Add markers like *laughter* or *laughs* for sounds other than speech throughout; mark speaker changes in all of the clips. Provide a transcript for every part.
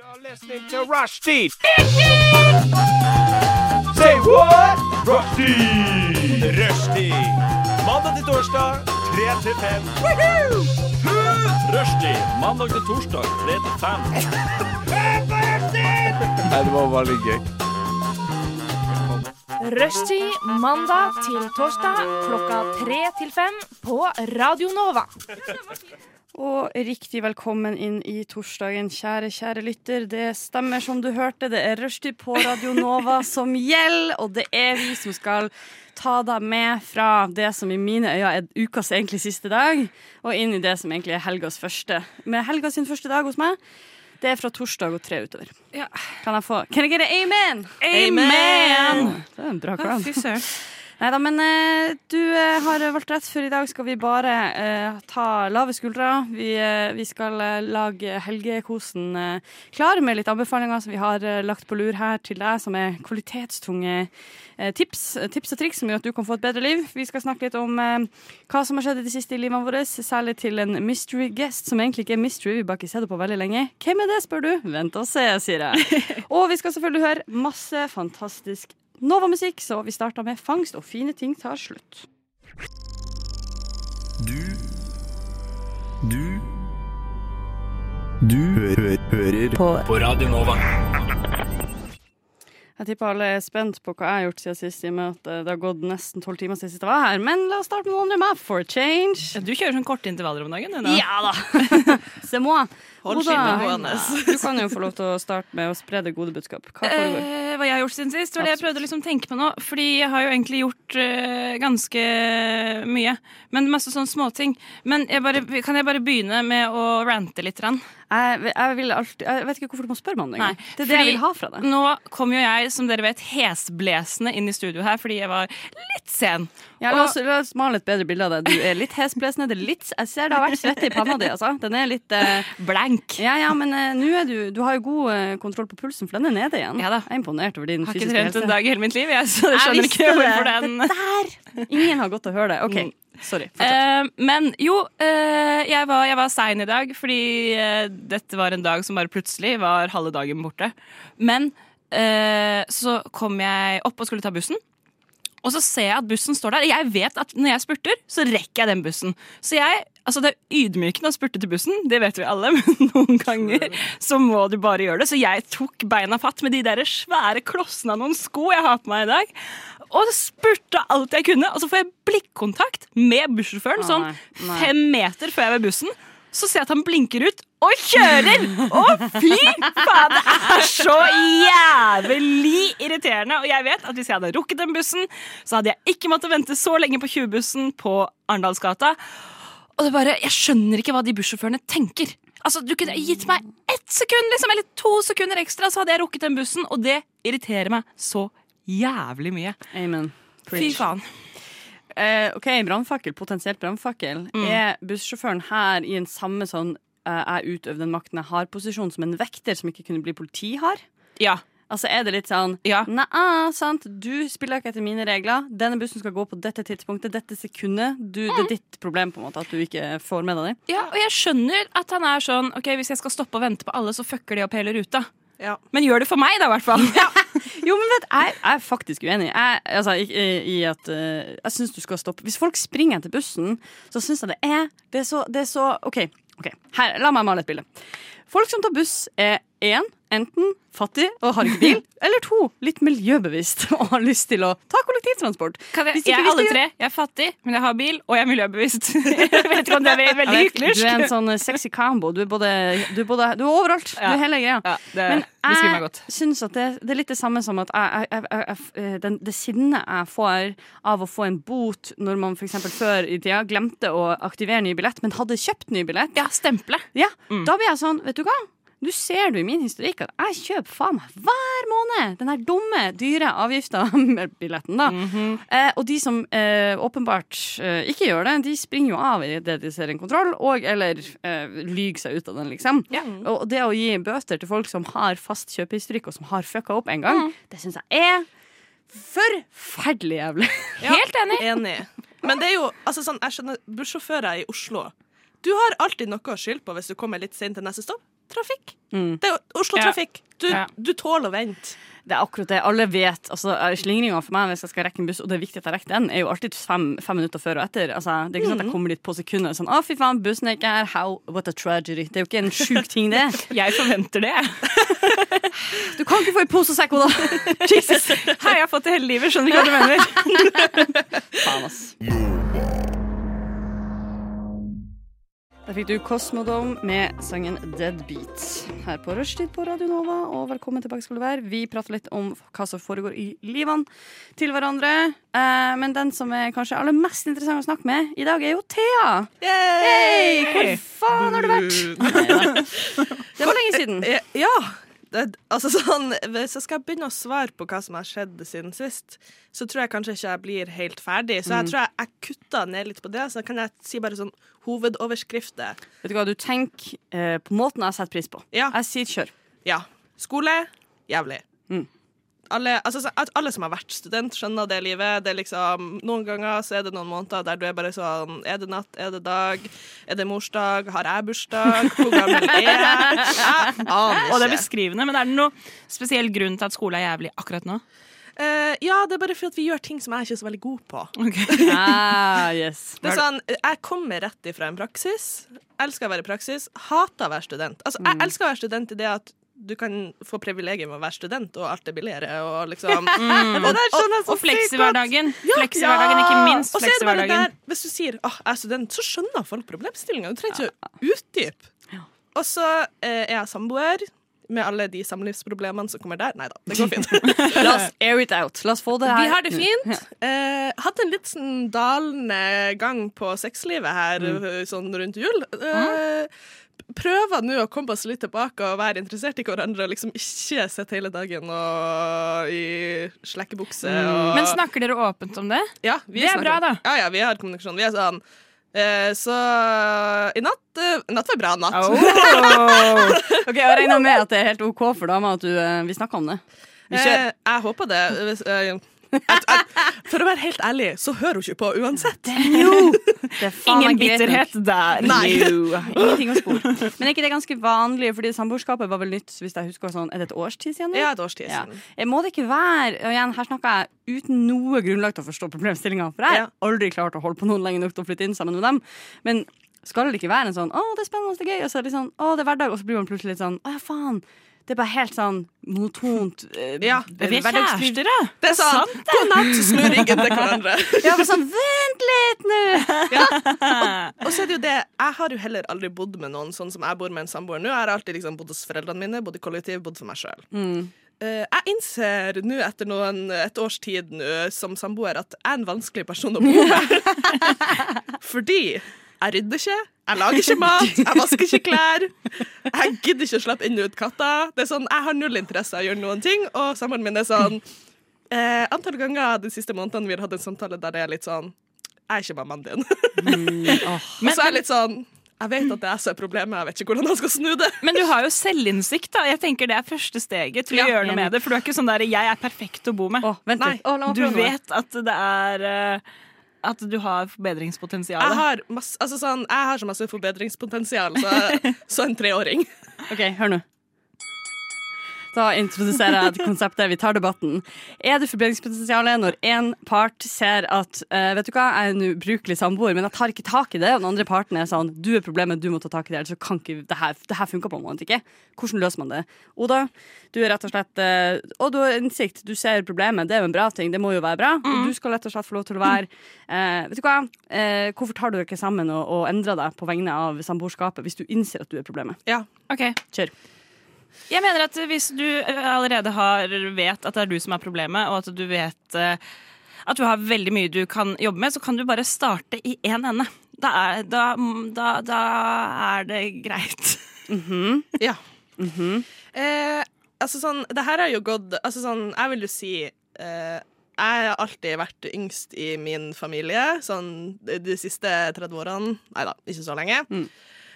Speaker 1: are listening to Rushdie. Say what? Rushdie. Rushdie. Mandag til torsdag, 3 til 5. Rushdie. Mandag til torsdag, 3 til 5.
Speaker 2: Rushtid mandag til torsdag klokka tre til fem på Radio Nova.
Speaker 3: Og riktig velkommen inn i torsdagen, kjære, kjære lytter. Det stemmer som du hørte, det er rushtid på Radio Nova som gjelder, og det er vi som skal ta deg med fra det som i mine øyne er ukas egentlig siste dag, og inn i det som egentlig er helgas første. Med helga sin første dag hos meg, det er fra torsdag og tre utover.
Speaker 4: Ja.
Speaker 3: Kan jeg få Can I get an amen?
Speaker 4: Amen!
Speaker 3: Det er en bra
Speaker 4: Å,
Speaker 3: klan.
Speaker 4: Fy søren.
Speaker 3: Nei da, men eh, du eh, har valgt rett, for i dag skal vi bare eh, ta lave skuldre. Vi, eh, vi skal eh, lage helgekosen eh, klar med litt anbefalinger som vi har eh, lagt på lur her til deg, som er kvalitetstunge eh, tips, eh, tips og triks som gjør at du kan få et bedre liv. Vi skal snakke litt om eh, hva som har skjedd i det siste i livet vårt, særlig til en mystery guest, som egentlig ikke er mystery, vi har bare ikke sett det på veldig lenge. Hvem er det, spør du? Vent og se, sier jeg. Og vi skal selvfølgelig høre masse fantastisk Nova-musikk, så vi starter med fangst, og fine ting tar slutt.
Speaker 5: Du Du Du hø hø hører på. Radio Nova.
Speaker 3: Jeg tipper alle er spent på hva jeg har gjort siden sist, i og med at eh, det har gått nesten tolv timer siden sist jeg var her. Men la oss starte med noe andre med, for a change.
Speaker 4: Ja, Du kjører sånn korte intervaller om dagen? du, nå.
Speaker 3: Ja da! Se moi. Oda,
Speaker 4: Hold skinnet gående.
Speaker 3: *laughs* Du kan jo få lov til å starte med å spre det gode budskap. Hva foregår?
Speaker 4: Eh, hva jeg har gjort siden sist? Var det jeg prøvde å liksom tenke på nå. Fordi jeg har jo egentlig gjort eh, ganske mye. Men masse sånne småting. Men jeg bare, kan jeg bare begynne med å rante litt? Rann?
Speaker 3: Jeg, jeg, vil alltid, jeg vet ikke hvorfor du må spørre meg om det engang.
Speaker 4: Nei,
Speaker 3: Det er det jeg
Speaker 4: fordi Mm.
Speaker 3: vil ha fra deg.
Speaker 4: Nå kom jo jeg, som dere vet, hesblesende inn i studio her fordi jeg var litt sen.
Speaker 3: Ja, la, oss, la oss male et bedre bilde av det. Du er litt hesblesende. det er litt- Jeg ser det har vært svette i panna di, altså. Den er litt eh,
Speaker 4: Blank.
Speaker 3: Ja, ja, men eh, nå er du Du har jo god eh, kontroll på pulsen, for den er nede igjen.
Speaker 4: Ja da.
Speaker 3: Jeg er imponert over din
Speaker 4: Jeg har ikke
Speaker 3: fysiske
Speaker 4: trent
Speaker 3: helse.
Speaker 4: en dag i hele mitt liv, jeg, så jeg
Speaker 3: Jeg
Speaker 4: skjønner
Speaker 3: visste
Speaker 4: ikke hvorfor
Speaker 3: det.
Speaker 4: den
Speaker 3: Ingen har godt å høre det.
Speaker 4: Mm.
Speaker 3: OK, sorry. fortsett.
Speaker 4: Eh, men jo, eh, jeg var, jeg var sein i dag, fordi eh, dette var en dag som bare plutselig var halve dagen borte. Men eh, så kom jeg opp og skulle ta bussen. Og så ser jeg at bussen står der. Jeg vet at når jeg spurter, så rekker jeg den bussen. Så jeg, altså det er ydmykende å spurte til bussen, det vet vi alle, *laughs* men noen ganger så må du bare gjøre det. Så jeg tok beina fatt med de der svære klossene av noen sko jeg har på meg i dag, og spurta alt jeg kunne. Og så får jeg blikkontakt med bussjåføren
Speaker 3: Å,
Speaker 4: sånn
Speaker 3: nei, nei.
Speaker 4: fem meter før jeg er ved bussen. Så ser jeg at han blinker ut og kjører! Å, fy faen! Det er så jævlig irriterende. Og jeg vet at hvis jeg hadde rukket den bussen, så hadde jeg ikke måttet vente så lenge på 20-bussen på Arendalsgata. Og det bare, Jeg skjønner ikke hva de bussjåførene tenker. Altså, Du kunne gitt meg ett sekund liksom, eller to sekunder ekstra, så hadde jeg rukket den bussen. Og det irriterer meg så jævlig mye.
Speaker 3: Amen.
Speaker 4: Fy
Speaker 3: Preach.
Speaker 4: faen.
Speaker 3: Eh, OK, brannfakkel, potensielt brannfakkel.
Speaker 4: Mm.
Speaker 3: Er bussjåføren her i en samme sånn eh, jeg utøver den makten jeg har, posisjon som en vekter som ikke kunne bli politi har?
Speaker 4: Ja.
Speaker 3: Altså er det litt sånn
Speaker 4: Ja.
Speaker 3: Nei, sant, du spiller ikke etter mine regler. Denne bussen skal gå på dette tidspunktet, dette sekundet. Du, Det er ditt problem på en måte at du ikke får med deg det.
Speaker 4: Ja, og jeg skjønner at han er sånn Ok, hvis jeg skal stoppe og vente på alle, så fucker de opp hele ruta. Men gjør det for meg, da, i hvert fall. *laughs*
Speaker 3: Jo, men vet, jeg, jeg er faktisk uenig. Jeg, altså, i, i i at eh, Jeg syns du skal stoppe. Hvis folk springer etter bussen, så syns jeg det er Det er så, det er så OK, ok. Her, la meg male et bilde. Folk som tar buss, er én enten fattig og har ikke bil, *laughs* eller to litt miljøbevisst og har lyst til å ta kollektivtransport.
Speaker 4: Kan jeg,
Speaker 3: Hvis ikke-
Speaker 4: jeg er
Speaker 3: hvis
Speaker 4: alle
Speaker 3: ikke-
Speaker 4: tre. Jeg er fattig, men jeg har bil, og jeg er miljøbevisst. *laughs* jeg vet ikke om det er veldig
Speaker 3: Du er en
Speaker 4: hyklersk.
Speaker 3: *laughs* sånn eh, sexy combo. Du er, både, du er, både, du er overalt. Du
Speaker 4: Ja.
Speaker 3: er hele greia.
Speaker 4: Ja, det
Speaker 3: Men
Speaker 4: beskriver meg godt.
Speaker 3: jeg syns at det, det er litt det samme som at jeg, jeg, jeg, jeg, eh, den, det sinnet jeg får av å få en bot når man f.eks. før i tida glemte å aktivere ny billett, men hadde kjøpt ny billett,
Speaker 4: Ja, Mm. stemple.
Speaker 3: ja, da blir jeg sånn, vet du hva? Du ser du i min historikk at jeg kjøper faen meg hver måned den her dumme, dyre avgifta *laughs* med billetten, da.
Speaker 4: Mhm.
Speaker 3: eh, og de som eh, åpenbart eh, ikke gjør det, de springer jo av i det de ser en kontroll, og eller eh, lyger seg ut av den, liksom.
Speaker 4: Ja.
Speaker 3: Og det å gi bøter til folk som har fast kjøpehistorikk, og som har fucka opp en gang, det syns jeg er forferdelig jævlig.
Speaker 4: Helt enig.
Speaker 6: Enig. Men det er jo altså sånn, jeg skjønner, bussjåfører i Oslo Du har alltid noe å skylde på hvis du kommer litt sent til neste stopp. trafikk.
Speaker 3: Mm.
Speaker 6: Det er jo Oslo-trafikk. Du,
Speaker 4: Ja.
Speaker 6: du tåler å vente.
Speaker 3: Det er akkurat det. Alle vet altså, Slingringa for meg hvis jeg skal rekke en buss, og det er viktig at jeg rekker den, er jo alltid fem, fem minutter før og etter. Altså, det er ikke sånn at jeg kommer dit på sekundet sånn 'Å, fy faen, bussen er ikke her. How? What a tragedy.' Det er jo ikke en sjuk ting, det.
Speaker 4: *laughs* Jeg forventer det.
Speaker 3: Du kan ikke få i pose og sekk, Oda. Jesus.
Speaker 4: Hei, jeg har fått det hele livet. Skjønner ikke hva du mener.
Speaker 3: *laughs* Faen, ass. Der fikk du Kosmodome med sangen Dead Beat her på Rushtid på Radio Nova. Og velkommen tilbake skal du være. Vi prater litt om hva som foregår i livene til hverandre. Eh, men den som er kanskje aller mest interessant å snakke med i dag, er jo Thea. Hei! Hvor faen har du vært? Neida. Det var lenge *laughs* siden.
Speaker 6: Eh, Ja. Det, altså sånn, hvis jeg skal begynne å svare på hva som har skjedd siden sist, så tror jeg kanskje ikke jeg blir helt ferdig. Så
Speaker 4: Mm.
Speaker 6: jeg tror jeg, jeg kutter ned litt på det. Så kan jeg si bare sånn hovedoverskrifter.
Speaker 3: Vet du hva, du tenker eh, på måten jeg setter pris på.
Speaker 6: Ja.
Speaker 3: Jeg sier kjør.
Speaker 6: Ja. Skole jævlig.
Speaker 3: Mm.
Speaker 6: Alle, altså, så- at alle som har vært student, skjønner det livet. Det er liksom, noen ganger så er det noen måneder der du er bare sånn Er det natt? Er det dag? Er det morsdag? Har jeg bursdag? Hvor gammel
Speaker 4: *laughs*
Speaker 6: er jeg? Jeg
Speaker 4: Og det
Speaker 6: aner
Speaker 4: er
Speaker 6: ikke.
Speaker 4: beskrivende, men er det noen spesiell grunn til at skole er jævlig akkurat nå?
Speaker 6: Eh, ja, det er bare fordi at vi gjør ting som jeg ikke er så veldig god på.
Speaker 3: Ah, *laughs* yes.
Speaker 6: Det er sånn, Jeg kommer rett ifra en praksis. Elsker å være i praksis. Hater å være student. Altså,
Speaker 4: Mm.
Speaker 6: Jeg elsker å være student i det at du kan få privilegium å være student, og alt er billigere. Og
Speaker 4: *laughs*
Speaker 6: liksom og, det er sånn jeg
Speaker 4: Mm.
Speaker 6: så
Speaker 4: Og
Speaker 6: sykt godt.
Speaker 4: fleksihverdagen. Fleksihverdagen, ikke minst.
Speaker 6: Og så er det bare
Speaker 4: Fleksihverdagen.
Speaker 6: der, Hvis du sier at jeg er student, så skjønner folk problemstillinga. Du trenger ikke å utdype. Og så eh, er jeg samboer, med alle de samlivsproblemene som kommer der. Nei da,
Speaker 4: *laughs*
Speaker 6: det går fint.
Speaker 3: La oss air it out. La oss få det her.
Speaker 6: Vi har det fint. Eh, hadde en litt sånn dalende gang på sexlivet her
Speaker 4: Mm.
Speaker 6: eh, sånn rundt jul.
Speaker 4: Ah.
Speaker 6: Eh, Prøver nå å komme oss litt tilbake og være interessert i hverandre og liksom ikke sitte hele dagen og i slekkebukse og
Speaker 4: Mm. Men snakker dere åpent om det?
Speaker 6: ja, vi
Speaker 4: Det er
Speaker 6: snakker
Speaker 4: bra,
Speaker 6: om-
Speaker 4: da.
Speaker 6: Ja, ja, vi har kommunikasjon. Vi er sånn eh, Så i natt eh, Natt var bra natt. Eh,
Speaker 3: Ok, Jeg regner med at det er helt OK for dama at du, eh, vi snakker om det. Vi kjører.
Speaker 6: Eh, jeg håper det. Hvis, eh, at, at, for å være helt ærlig, så hører hun ikke på uansett.
Speaker 3: *laughs* Det er faen meg greit
Speaker 4: Ingen
Speaker 3: nok.
Speaker 4: bitterhet der.
Speaker 6: Nei.
Speaker 4: Jo.
Speaker 3: *laughs* Ingenting å spore. Men er ikke det ganske vanlig, fordi samboerskapet var vel nytt hvis jeg husker sånn, er det et års tid siden? nå?
Speaker 6: Ja, et års tid
Speaker 3: Ja.
Speaker 6: siden.
Speaker 3: Eh, Må det ikke være og igjen, Her snakker jeg uten noe grunnlag til å forstå problemstillinga, for jeg har aldri klart å holde på noen lenge nok til å flytte inn sammen med dem. Men skal det ikke være en sånn 'Å, det er spennende, det er gøy', og så er det litt sånn 'Å, det er hverdag', og så blir man plutselig litt sånn 'Å ja, faen'. Det er bare helt sånn monotont. eh,
Speaker 6: Ja,
Speaker 3: eh,
Speaker 4: Vi er
Speaker 3: hverdagsliv.
Speaker 4: kjærester, da.
Speaker 6: Det er sånn. God natt, snu ryggen til hverandre.
Speaker 3: Ja, men sånn, vent litt nå!
Speaker 6: Og så er det jo det, jeg har jo heller aldri bodd med noen sånn som jeg bor med en samboer nå. Jeg har alltid liksom bodd hos foreldrene mine, bodd i kollektiv, bodd for meg sjøl. jeg innser nå etter noen, et års tid nå som samboer at jeg er en vanskelig person å bo med. Fordi jeg rydder ikke, jeg lager ikke mat, jeg vasker ikke klær. Jeg gidder ikke å slippe inn og ut katta. Det er sånn, Jeg har null interesse av å gjøre noen ting, og samboeren min er sånn eh, Antall ganger de siste månedene vi har hatt en samtale der det er litt sånn Jeg er ikke mammaen din. Og så er jeg litt sånn Jeg vet at det er så er problemet, jeg vet ikke hvordan jeg skal snu det.
Speaker 4: Men du har jo selvinnsikt. da Jeg tenker Det er første steget til
Speaker 3: Ja,
Speaker 4: å gjøre noe
Speaker 3: enig.
Speaker 4: med det. For du er ikke sånn der 'jeg er perfekt å bo med'.
Speaker 3: Å, vent litt. Å, la meg
Speaker 4: du
Speaker 3: prøve noe.
Speaker 4: vet at det er eh, At du har forbedringspotensial.
Speaker 6: Jeg har, masse, altså sånn, jeg har så masse forbedringspotensial, *laughs* så, så en treåring.
Speaker 3: Ok, hør nå. Da introduserer jeg et konseptet. Vi tar debatten. Er det forbedringspotensialet når én part ser at eh, Vet du hva, jeg er en ubrukelig samboer, men jeg tar ikke tak i det. Og den andre parten er sånn Du er problemet, du må ta tak i det. Ellers så kan ikke det her, det her funker på en måte ikke. Hvordan løser man det? Oda, du er rett og slett eh, Og du har innsikt. Du ser problemet. Det er jo en bra ting. Det må jo være bra. Og du skal rett og slett få lov til å være eh, Vet du hva, eh, hvorfor tar du dere ikke sammen og, og endrer deg på vegne av samboerskapet hvis du innser at du er problemet?
Speaker 6: Ja.
Speaker 4: Ok.
Speaker 3: Kjør.
Speaker 4: Jeg mener at hvis du eh, allerede har, vet at det er du som er problemet, og at du vet eh, at du har veldig mye du kan jobbe med, så kan du bare starte i én ende. Da er, da, da, da er det greit.
Speaker 6: *laughs* Ja. eh, altså sånn, det her har jo gått Altså sånn, jeg vil jo si eh, Jeg har alltid vært yngst i min familie, sånn de, de siste 30 årene. Nei da, ikke så lenge.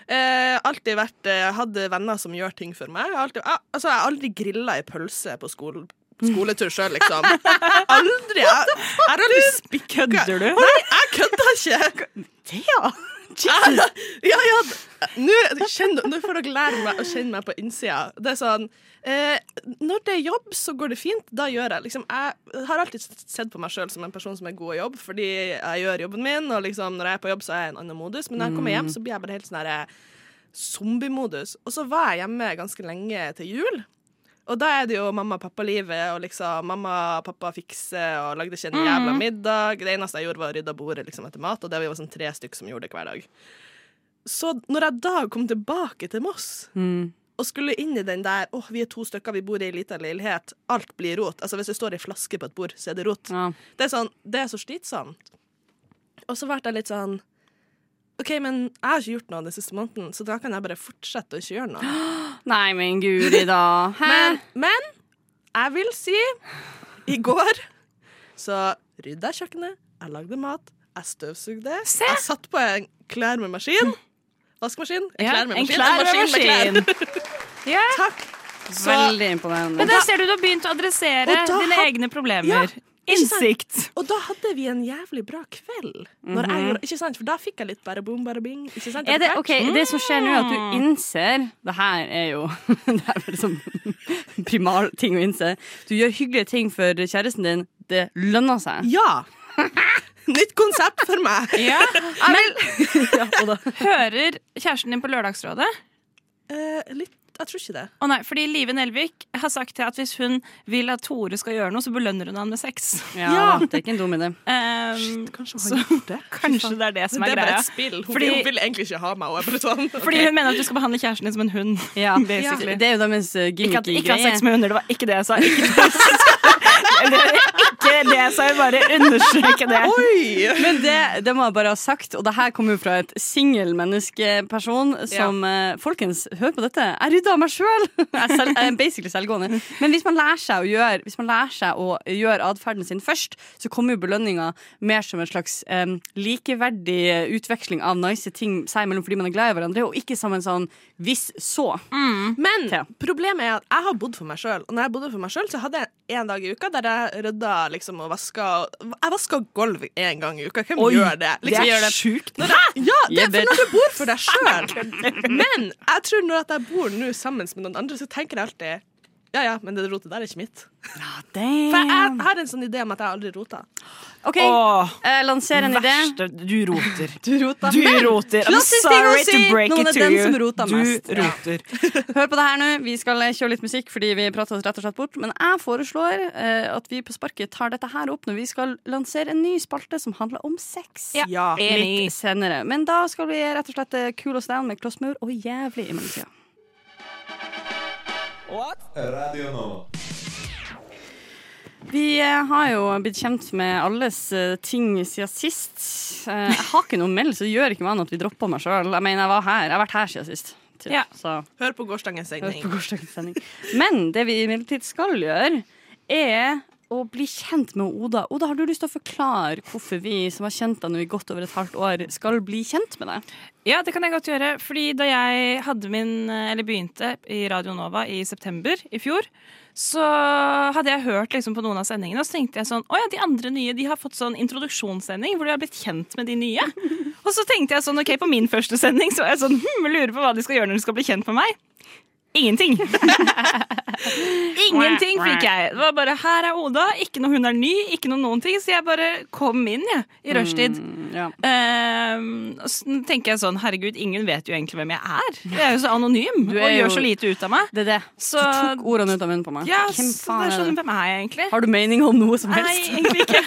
Speaker 6: Eh, alltid vært eh, Hadde venner som gjør ting for meg. Jeg har Alltid, ah, altså, jeg har aldri grilla ei pølse på skole, skoletur sjøl, liksom. Aldri! Jeg, jeg har aldri spikka
Speaker 4: Kødder du?
Speaker 6: Nei, jeg kødder ikke!
Speaker 3: Thea!
Speaker 6: *laughs* Ja, ja. d- Nå kjenn- nå får dere lære meg å kjenne meg på innsida. Det er sånn eh, Når det er jobb, så går det fint. Da gjør jeg liksom Jeg har alltid sett på meg sjøl som en person som er god i jobb, fordi jeg gjør jobben min, og liksom når jeg er på jobb, så er jeg i en annen modus. Men når jeg kommer hjem, så blir jeg bare helt sånn herre zombiemodus. Og så var jeg hjemme ganske lenge til jul. Og da er det jo mamma og pappa-livet, og liksom mamma og pappa fikser og lagde ikke en jævla middag. Det eneste jeg gjorde, var å rydde bordet liksom, etter mat, og det var jo sånn tre stykk som gjorde det hver dag. Så når jeg da kom tilbake til Moss og skulle inn i den der åh, vi er to stykker, vi bor i ei lita leilighet, alt blir rot. Altså hvis det står ei flaske på et bord, så er det rot.
Speaker 3: Ja.
Speaker 6: Det er sånn, det er så slitsomt. Og så ble jeg litt sånn OK, men jeg har ikke gjort noe den siste måneden, så da kan jeg bare fortsette å ikke gjøre noe.
Speaker 3: Nei, men guri *laughs* da. Hæ?
Speaker 6: Men, men jeg vil si I går så rydda jeg kjøkkenet, jeg lagde mat, jeg støvsugde.
Speaker 4: Se!
Speaker 6: Jeg satt på en klærmemaskin. Vaskemaskin. En
Speaker 4: Ja, en
Speaker 6: klærmemaskin.
Speaker 4: klærmaskin.
Speaker 6: maskin med klær.
Speaker 4: Ja.
Speaker 6: Takk. Så,
Speaker 3: Veldig imponerende.
Speaker 4: Men der ser du du har begynt å adressere
Speaker 6: Og da
Speaker 4: dine
Speaker 6: har-
Speaker 4: egne
Speaker 6: Ja,
Speaker 4: problemer.
Speaker 6: ikke sant?
Speaker 4: Innsikt.
Speaker 6: og da hadde vi en jævlig bra kveld. Når jeg gjorde, ikke sant? For da fikk jeg litt bare boom, bare bing. Ikke sant?
Speaker 3: Er det,
Speaker 6: Etter hvert.
Speaker 3: ok, det som skjer nå, er at du innser Det her er jo *laughs* Det er vel sånn *laughs* primal ting å innse. Du gjør hyggelige ting for kjæresten din. Det lønner seg.
Speaker 6: Ja. Nytt konsept for meg.
Speaker 4: *laughs*
Speaker 3: Ja, og da.
Speaker 4: Hører kjæresten din på Lørdagsrådet?
Speaker 6: Eh, litt, jeg tror ikke det.
Speaker 4: Å nei, fordi Live Nelvik har sagt til at hvis hun vil at Tore skal gjøre noe, så belønner hun han med sex.
Speaker 3: Ja, det er ikke en dum idé.
Speaker 4: Um,
Speaker 6: Kanskje
Speaker 4: hun har
Speaker 6: gjort *laughs* det.
Speaker 4: kanskje det er det som
Speaker 6: Det
Speaker 4: er
Speaker 6: er bare
Speaker 4: greia.
Speaker 6: et spill. Hun,
Speaker 4: Fordi-
Speaker 6: vil- hun vil egentlig ikke ha meg. Og jeg bare *laughs* sånn.
Speaker 4: Fordi hun mener at du skal behandle kjæresten din som en hund.
Speaker 3: *laughs* Ja.
Speaker 4: Basically.
Speaker 3: Det er jo deres eh,
Speaker 4: Ikke at
Speaker 3: gimmicky
Speaker 4: ikke ha
Speaker 3: greie.
Speaker 4: sex med hunder, det var ikke det jeg sa.
Speaker 3: *laughs*
Speaker 4: Ikke det jeg sa. Det er ikke det jeg sa, jeg bare understreker det.
Speaker 6: Oi!
Speaker 3: Men det, det må jeg bare ha sagt, og det her kommer jo fra et singel menneskeperson som eh, Folkens, hør på dette. Jeg rydda av meg sjøl! Jeg, selv, *laughs* jeg er basically selvgående. Men hvis man lærer seg å gjøre Hvis man lærer seg å gjøre atferden sin først, så kommer jo belønninga mer som en slags eh, likeverdig utveksling av nice ting seg imellom fordi man er glad i hverandre, og ikke som en sånn hvis så.
Speaker 6: Men
Speaker 3: Thea.
Speaker 6: problemet er at jeg har bodd for meg sjøl. Og når jeg bodde for meg sjøl, så hadde jeg en dag i uka der jeg rydda liksom, og vaska Jeg vaska gulv én gang i uka. Hvem gjør det? Liksom,
Speaker 3: det er
Speaker 6: sjukt. Når jeg, ja, det er
Speaker 3: Jeg vet.
Speaker 6: for når du bor for deg sjøl. Men jeg tror når at jeg bor nå sammen med noen andre, så tenker jeg alltid ja, ja, men det rotet der er ikke mitt. For jeg, jeg har en sånn idé om at jeg aldri rota.
Speaker 3: OK,
Speaker 4: Åh,
Speaker 3: eh, lanser en idé.
Speaker 4: verste. Du roter.
Speaker 3: Du roter.
Speaker 4: Du roter. I'm
Speaker 3: klassisk ting å
Speaker 4: sorry
Speaker 3: si.
Speaker 4: to break
Speaker 3: Noen
Speaker 4: it
Speaker 3: er
Speaker 4: to
Speaker 3: den
Speaker 4: you.
Speaker 3: som roter mest.
Speaker 4: Du
Speaker 3: Ja.
Speaker 4: roter.
Speaker 3: *laughs* Hør på det her nå. Vi skal eh, kjøre litt musikk fordi vi prater oss rett og slett bort. Men jeg foreslår eh, at vi på sparket tar dette her opp når vi skal lansere en ny spalte som handler om sex.
Speaker 6: Ja.
Speaker 4: Enig.
Speaker 3: Litt senere. Men da skal vi rett og slett eh, cool oss down med Klossmaur og jævlig i mellomtida. Vi eh, har jo blitt kjent med alles eh, ting siden sist. Eh, jeg har ikke noe meld, så det gjør ikke noe annet at vi dropper meg sjøl. Jeg mener, jeg var her. Jeg har vært her siden sist. Typ.
Speaker 4: Ja.
Speaker 3: Så
Speaker 6: Hør på gårsdagens
Speaker 3: Hør
Speaker 6: sending.
Speaker 3: på gårsdagens sending. Men det vi imidlertid skal gjøre, er å bli kjent med Oda. Oda, har du lyst til å forklare hvorfor vi som har kjent deg nå i godt over et halvt år, skal bli kjent med deg?
Speaker 4: Ja, det kan jeg godt gjøre. Fordi da jeg hadde min, eller begynte i Radio Nova i september i fjor, så hadde jeg hørt liksom på noen av sendingene, og så tenkte jeg sånn Å ja, de andre nye de har fått sånn introduksjonssending hvor de har blitt kjent med de nye. Og så tenkte jeg sånn OK, på min første sending så var jeg sånn Hm, lurer på hva de skal gjøre når de skal bli kjent med meg. Ingenting. Ingenting fikk jeg. Det var bare her er Oda, ikke noe hun er ny, ikke noe noen ting. Så jeg bare kom inn, jeg, i rushtid.
Speaker 3: Ja.
Speaker 4: Ehm, og så tenker jeg sånn, herregud, ingen vet jo egentlig hvem jeg er. Jeg er jo så anonym
Speaker 3: Du er
Speaker 4: og gjør
Speaker 3: jo-
Speaker 4: så lite ut av meg.
Speaker 3: Det er det.
Speaker 4: Så-
Speaker 3: Du tok ordene ut av munnen på meg.
Speaker 4: Ja,
Speaker 3: Hvem
Speaker 4: så det
Speaker 3: faen
Speaker 4: er
Speaker 3: er
Speaker 4: sånn,
Speaker 3: det?
Speaker 4: hvem er jeg egentlig?
Speaker 3: Har du mening om noe som
Speaker 4: Nei,
Speaker 3: helst?
Speaker 4: egentlig ikke.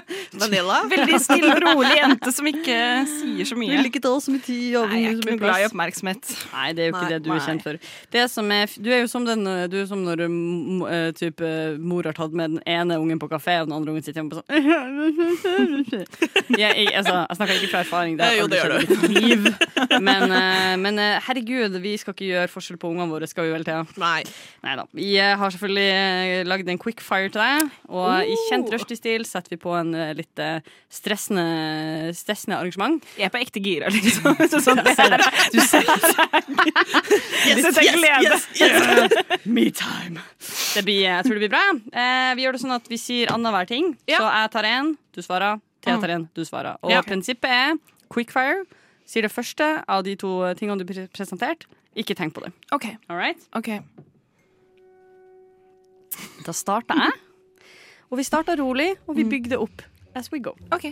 Speaker 3: *laughs*
Speaker 6: Vanilla.
Speaker 4: *laughs* Veldig stille og rolig jente som ikke sier så
Speaker 3: Du vil
Speaker 4: mye.
Speaker 3: ikke ta oss som i tid og
Speaker 4: Nei, jeg
Speaker 3: så
Speaker 4: er ikke
Speaker 3: mye
Speaker 4: noe glad i
Speaker 3: plass.
Speaker 4: oppmerksomhet.
Speaker 3: Nei, det er jo ikke
Speaker 6: Nei,
Speaker 3: det du er
Speaker 6: nei.
Speaker 3: kjent for. Det som er, f- du er jo som, den, eh, du er som når eh, m- eh, typ, eh, mor har tatt med den ene ungen på kafé, og den andre ungen sitter hjemme på *laughs* sånn jeg, jeg, altså, jeg snakker ikke fra erfaring. Det har
Speaker 6: Eh, jo,
Speaker 3: aldri
Speaker 6: det gjør
Speaker 3: skjedd i mitt liv. Men, eh, men eh, herregud, vi skal ikke gjøre forskjell på ungene våre, skal vi vel, Thea?
Speaker 6: Nei.
Speaker 3: Nei da. Vi eh, har selvfølgelig eh, lagd en quickfire til deg. Og i
Speaker 6: Oh.
Speaker 3: kjent rushtid-stil setter vi på en eh, litt eh, stressende, stressende arrangement.
Speaker 4: Jeg er på ekte gira, liksom. *laughs* Så sånn, det
Speaker 3: Ser
Speaker 4: her
Speaker 3: det. Du ser
Speaker 4: *laughs* er så jeg gleder.
Speaker 3: Me time. Det blir, jeg tror det blir bra. Eh, vi gjør det sånn at vi sier annenhver ting. Så jeg tar en, du svarer. Thea tar en, du svarer. Og
Speaker 4: Ja.
Speaker 3: prinsippet er quickfire. sier det første av de to tingene du pre- presenterte, ikke tenk på det.
Speaker 4: OK.
Speaker 3: All right?
Speaker 4: ok
Speaker 3: Da starta jeg. Og vi starta rolig, og vi bygde opp as we go.
Speaker 4: ok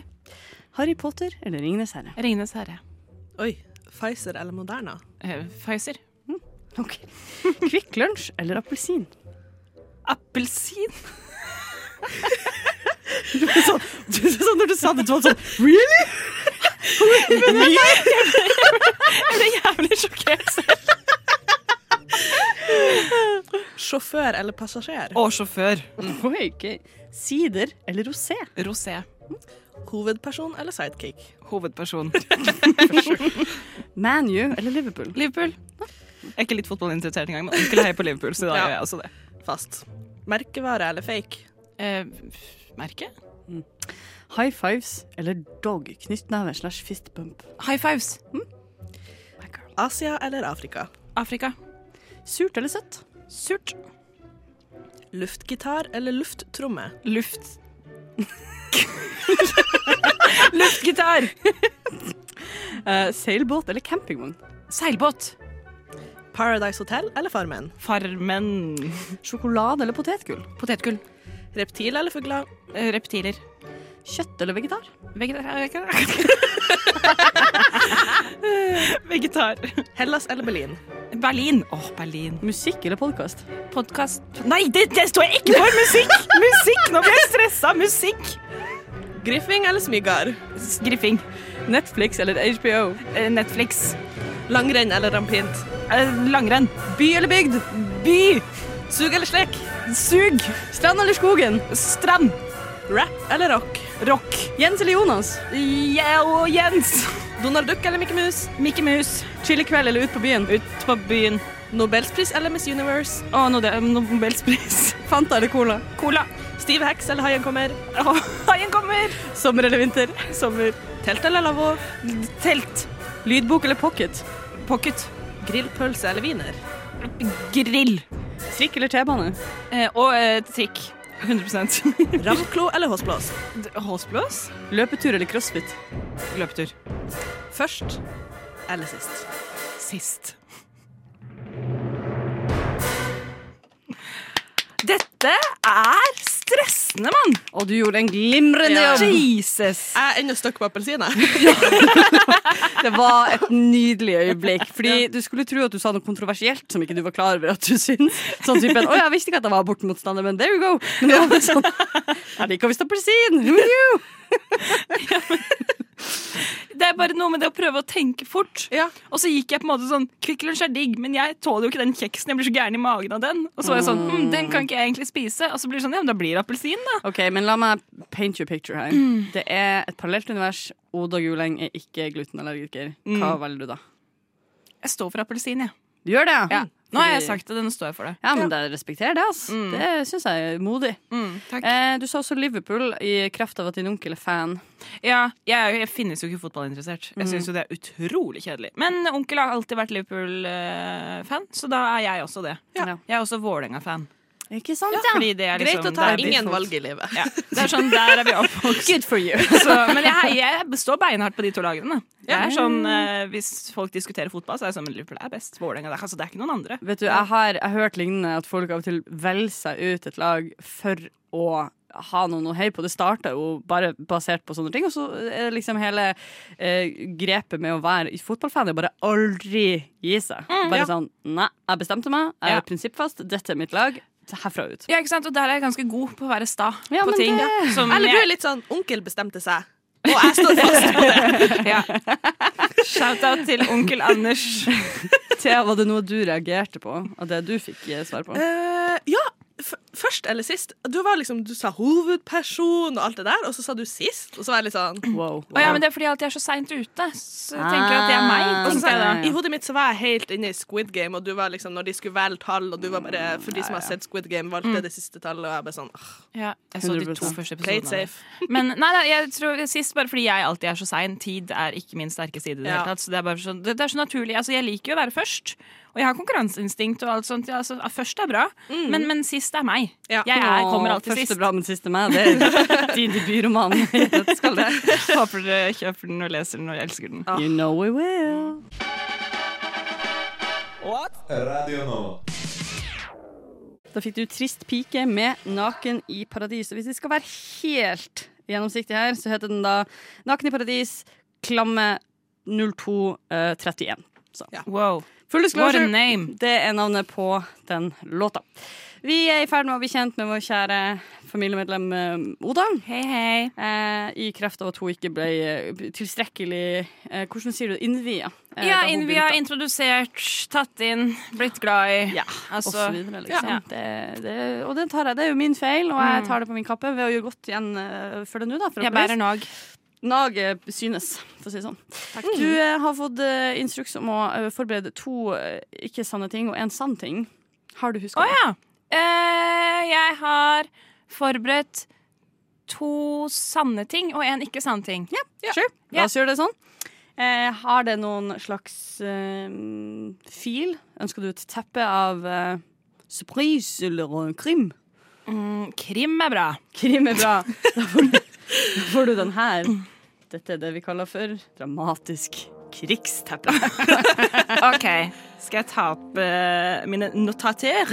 Speaker 3: Harry Potter eller Ringenes herre?
Speaker 4: Ringenes herre.
Speaker 6: Oi. Pfizer eller Moderna?
Speaker 4: Eh, Pfizer.
Speaker 3: Ok. *laughs* Kvikk lunsj eller appelsin?
Speaker 6: *laughs*
Speaker 4: Appelsin.
Speaker 3: Du, sånn, når du sa det, du var sånn Really?
Speaker 4: Jeg ble *laughs* jævlig sjokkert selv.
Speaker 6: Sjåfør eller passasjer?
Speaker 4: Og sjåfør.
Speaker 3: Oi, ok. Sider eller rosé?
Speaker 4: Rosé.
Speaker 6: Hovedperson eller sidekick?
Speaker 4: Hovedperson.
Speaker 3: ManU eller Liverpool?
Speaker 4: Liverpool. Jeg er ikke litt fotballinteressert engang, men onkel heier på Liverpool, så da
Speaker 6: Ja.
Speaker 4: gjør jeg også det.
Speaker 6: Fast. Merkevare eller fake?
Speaker 4: Eh, merke?
Speaker 3: High fives eller dog? Knyttneve slash fistbump?
Speaker 4: High fives.
Speaker 6: Asia eller Afrika?
Speaker 4: Afrika.
Speaker 3: Surt eller søtt?
Speaker 4: Surt.
Speaker 6: Luftgitar eller lufttromme?
Speaker 4: Luft. Luftgitar.
Speaker 3: Eh, seilbåt eller campingvogn?
Speaker 4: Seilbåt.
Speaker 6: Paradise Hotel eller Farmen?
Speaker 4: Farmen.
Speaker 3: Sjokolade eller potetgull?
Speaker 4: Potetgull.
Speaker 6: Reptil eller fugler?
Speaker 4: Eh, reptiler.
Speaker 3: Kjøtt eller vegetar?
Speaker 4: Vegetar. eh, *laughs* Vegetar.
Speaker 6: Hellas eller Berlin?
Speaker 4: Berlin. Åh, Berlin.
Speaker 3: Musikk eller podkast?
Speaker 4: Podkast Nei, det, det står jeg ikke for! Musikk! Musikk! Nå blir jeg stressa. Musikk.
Speaker 6: Griffing eller smygar?
Speaker 4: Griffing.
Speaker 3: Netflix eller HBO?
Speaker 4: Eh, Netflix.
Speaker 6: Langrenn eller rampint?
Speaker 4: Eh, Langrenn.
Speaker 3: By eller bygd?
Speaker 4: By.
Speaker 6: Sug eller slekk?
Speaker 4: Sug.
Speaker 3: Strand eller skogen?
Speaker 4: Strand.
Speaker 6: Rap eller rock?
Speaker 4: Rock.
Speaker 3: Jens eller Jonas?
Speaker 4: Ja, og Jens.
Speaker 6: Donald Duck eller Mickey Mouse?
Speaker 4: Mikke Mus.
Speaker 3: Chillekveld eller ut på byen?
Speaker 4: Ut på byen.
Speaker 6: Nobelspris eller Miss Universe?
Speaker 4: Å, nå det er Nobelspris.
Speaker 3: *laughs* Fanta eller cola?
Speaker 4: Cola.
Speaker 6: Steve Hacks eller Haien kommer?
Speaker 4: Å, Haien kommer.
Speaker 3: Sommer eller vinter?
Speaker 4: Sommer.
Speaker 6: Telt eller lavvo?
Speaker 4: Telt.
Speaker 3: Lydbok eller pocket?
Speaker 4: Pocket.
Speaker 6: Grillpølse eller wiener?
Speaker 4: Grill.
Speaker 3: Trikk eller T-bane?
Speaker 4: Eh, og eh, trikk. 100
Speaker 6: Ramklo eller håsblås?
Speaker 4: Halsblås.
Speaker 3: Løpetur eller crossfit?
Speaker 4: Løpetur.
Speaker 6: Først eller sist?
Speaker 4: Sist. Dette er stressende, mann!
Speaker 3: Og du gjorde en glimrende
Speaker 6: Ja.
Speaker 3: jobb!
Speaker 4: Jesus.
Speaker 6: Jeg er ennå stuck på appelsiner.
Speaker 3: *laughs* Det var et nydelig øyeblikk. Fordi du skulle tro at du sa noe kontroversielt som ikke du var klar over at du syntes. Sånn typen 'Å, jeg visste ikke at jeg var abortmotstander, men there you go'. Men nå var det sånn Jeg liker visst appelsin! Who knew?
Speaker 4: Det er bare noe med det å prøve å tenke fort.
Speaker 6: Ja.
Speaker 4: Og så gikk jeg på en måte sånn Kvikk Lunsj er digg, men jeg tåler jo ikke den kjeksen. Jeg blir så gæren i magen av den. Og så var jeg sånn hm, Den kan ikke jeg egentlig spise. Og så blir det sånn Ja, men da blir det appelsin, da.
Speaker 3: OK, men la meg paint you a picture her. Det er et parallelt univers. Oda Guleng er ikke glutenallergiker. Hva velger du da?
Speaker 4: Jeg står for appelsin, jeg.
Speaker 3: Du gjør det, ja?
Speaker 4: Nå har jeg sagt det, nå står jeg for det.
Speaker 3: Ja, men det respekterer det, altså. Det syns jeg er modig.
Speaker 4: Mm, takk.
Speaker 3: Eh, du sa også Liverpool i kraft av at din onkel er fan.
Speaker 4: Ja, jeg, er jo- jeg finnes jo ikke fotballinteressert. Jeg syns jo det er utrolig kjedelig. Men onkel har alltid vært Liverpool-fan, så da er jeg også det.
Speaker 3: Ja.
Speaker 4: Jeg er også Vålerenga-fan.
Speaker 3: Ikke sant,
Speaker 4: Fordi det er liksom
Speaker 6: Greit å
Speaker 3: Altså,
Speaker 6: ta
Speaker 4: det er-
Speaker 6: ingen valg i livet.
Speaker 4: Ja, *laughs* det er sånn, Der er vi oppvokst.
Speaker 3: Good for you.
Speaker 4: Så, men jeg, jeg står beinhardt på de to lagene. da. Jeg er sånn, eh, hvis folk diskuterer fotball, så er jeg sånn men Liverpool er best. Vålerenga det er- altså, det er ikke noen andre.
Speaker 3: *laughs* Vet du, jeg har, jeg har hørt lignende at folk av og til velger seg ut et lag for å ha noen å heie på. Det starta jo bare basert på sånne ting, og så er det liksom hele eh, grepet med å være fotballfan er bare aldri gi seg. bare sånn nei, jeg bestemte meg, jeg
Speaker 4: Mm, Ja.
Speaker 3: er prinsippfast, dette er mitt lag, herfra ut.
Speaker 4: Ja, ikke sant? Og der er jeg ganske god på å være sta
Speaker 3: Ja,
Speaker 4: på
Speaker 3: men
Speaker 4: ting.
Speaker 3: det-
Speaker 4: Som
Speaker 6: Eller du er
Speaker 4: jeg,
Speaker 6: litt sånn onkel bestemte seg, og jeg står fast på det.
Speaker 4: ja. Shout-out til onkel *laughs* Anders.
Speaker 3: Thea, var det noe du reagerte på, av det du fikk eh, svar på?
Speaker 6: Eh, ja, f først eller sist. Du, var liksom, du sa hovedperson og alt det der, og så sa du sist. Og så var jeg litt sånn
Speaker 3: Wow.
Speaker 4: Og ja, men Det er fordi jeg alltid er så seint ute. Så jeg tenker at det er meg. Ah. Og så sa jeg
Speaker 6: I hodet mitt så var jeg helt inne i Squid Game, og du var liksom når de skulle velge tall, og du var bare For de som har sett Squid Game, valgte det siste tallet, og jeg bare sånn ah,
Speaker 4: det. Ja, jeg så de to
Speaker 3: 100%.
Speaker 4: første
Speaker 6: Play it
Speaker 4: episodene. av det.
Speaker 6: safe.
Speaker 4: Men nei, nei, jeg tror sist bare fordi jeg alltid er så sein. Tid er ikke min sterke side. i Det,
Speaker 6: Ja.
Speaker 4: hele tatt, så det, er bare sånn, det, det er så naturlig. Altså, jeg liker jo å være først, og Og jeg har konkurranseinstinkt og alt sånt. Ja, altså, først er bra, men, men sist er meg.
Speaker 6: Mm. Ja.
Speaker 4: Jeg er, kommer
Speaker 3: Å,
Speaker 4: alltid
Speaker 3: første
Speaker 4: sist.
Speaker 3: bra, men siste meg. Det
Speaker 4: *laughs*
Speaker 3: er din debutroman. i dødskallet.
Speaker 4: Håper dere kjøper den og leser den og elsker den.
Speaker 3: You know we will. Da fikk du Trist pike med Naken i paradis. Og hvis vi skal være helt gjennomsiktige her, så heter den da Naken i paradis, klamme 0231. Så.
Speaker 6: Ja.
Speaker 4: Wow.
Speaker 3: Full
Speaker 4: What a
Speaker 3: disclosure.
Speaker 4: name.
Speaker 3: Det er navnet på den låta. Vi er i ferd med å bli kjent med vår kjære familiemedlem eh, Oda.
Speaker 4: Hei, hei.
Speaker 3: Eh, I kraft av at hun ikke ble eh, tilstrekkelig eh, Hvordan sier du innvia? eh,
Speaker 4: Ja,
Speaker 3: da hun
Speaker 4: inn, vi har
Speaker 3: begynte.
Speaker 4: introdusert, tatt inn, blitt glad i.
Speaker 3: Ja, og så
Speaker 4: altså,
Speaker 3: videre, liksom.
Speaker 4: ja. Mm.
Speaker 3: Det, det, og det tar jeg. Det er jo min feil, og jeg tar det på min kappe ved å gjøre godt igjen eh, for det nå, da. For
Speaker 4: jeg
Speaker 3: å bli
Speaker 4: bærer nag.
Speaker 3: Naget synes, for å si det sånn. Du eh, har fått eh, instruks om å eh, forberede to eh, ikke sanne ting og en sann ting. Har du huska
Speaker 4: Å ja. Eh, jeg har forberedt to sanne ting og en ikke sann ting.
Speaker 3: det? Sure.
Speaker 4: Ja.
Speaker 3: La oss gjøre det sånn. Eh, har det noen slags eh, fil? Ønsker du et teppe av eh, surprise eller eh, krim?
Speaker 4: Mm, krim er bra.
Speaker 3: Krim er bra. Da får du, da får du den her. Dette er det vi kaller for dramatisk krigsteppe.
Speaker 4: OK. Skal jeg ta opp eh, mine notater?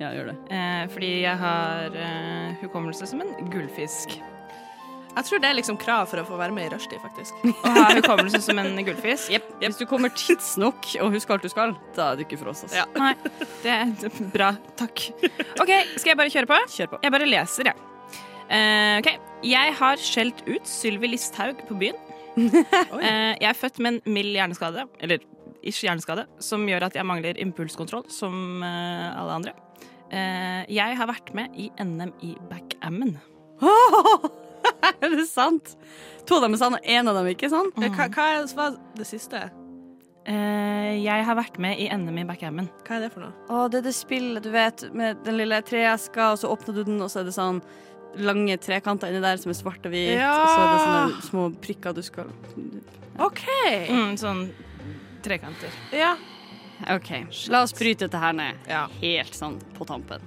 Speaker 3: Ja, gjør det.
Speaker 4: Eh, fordi jeg har eh, hukommelse som en *laughs* gullfisk.
Speaker 6: Jeg tror det er liksom krav for å få være med i rushtid, faktisk.
Speaker 4: Å ha hukommelse som en gullfisk.
Speaker 3: Hvis du kommer tidsnok og husker alt du skal, da er du ikke for oss. Altså.
Speaker 6: Ja.
Speaker 4: Nei, det er bra. Takk. OK, skal jeg bare kjøre på?
Speaker 3: Kjør på.
Speaker 4: Jeg bare leser, jeg. Ja. Eh, ok. Jeg har skjelt ut Sylvi Listhaug på byen.
Speaker 3: *laughs*
Speaker 4: Eh, jeg er født med en mild hjerneskade, eller ish hjerneskade, som gjør at jeg mangler impulskontroll som eh, alle andre. Eh, jeg har vært med i NM i backgammon.
Speaker 3: *laughs* Er det sant? To av dem er sann, og én av dem ikke sann.
Speaker 6: Hva, hva er- hva var det siste?
Speaker 4: Eh, jeg har vært med i NM i backgammon.
Speaker 6: Hva er det for noe?
Speaker 3: Å, det er det spillet du vet med den lille treeska, og så åpner du den, og så er det sånn lange trekanter inni der som er svart og hvit,
Speaker 6: Ja.
Speaker 3: og så er det sånne små prikker du skal
Speaker 6: OK.
Speaker 4: Mm, sånn trekanter.
Speaker 6: Ja.
Speaker 3: OK, la oss bryte dette her ned.
Speaker 6: ja.
Speaker 3: helt sånn på tampen.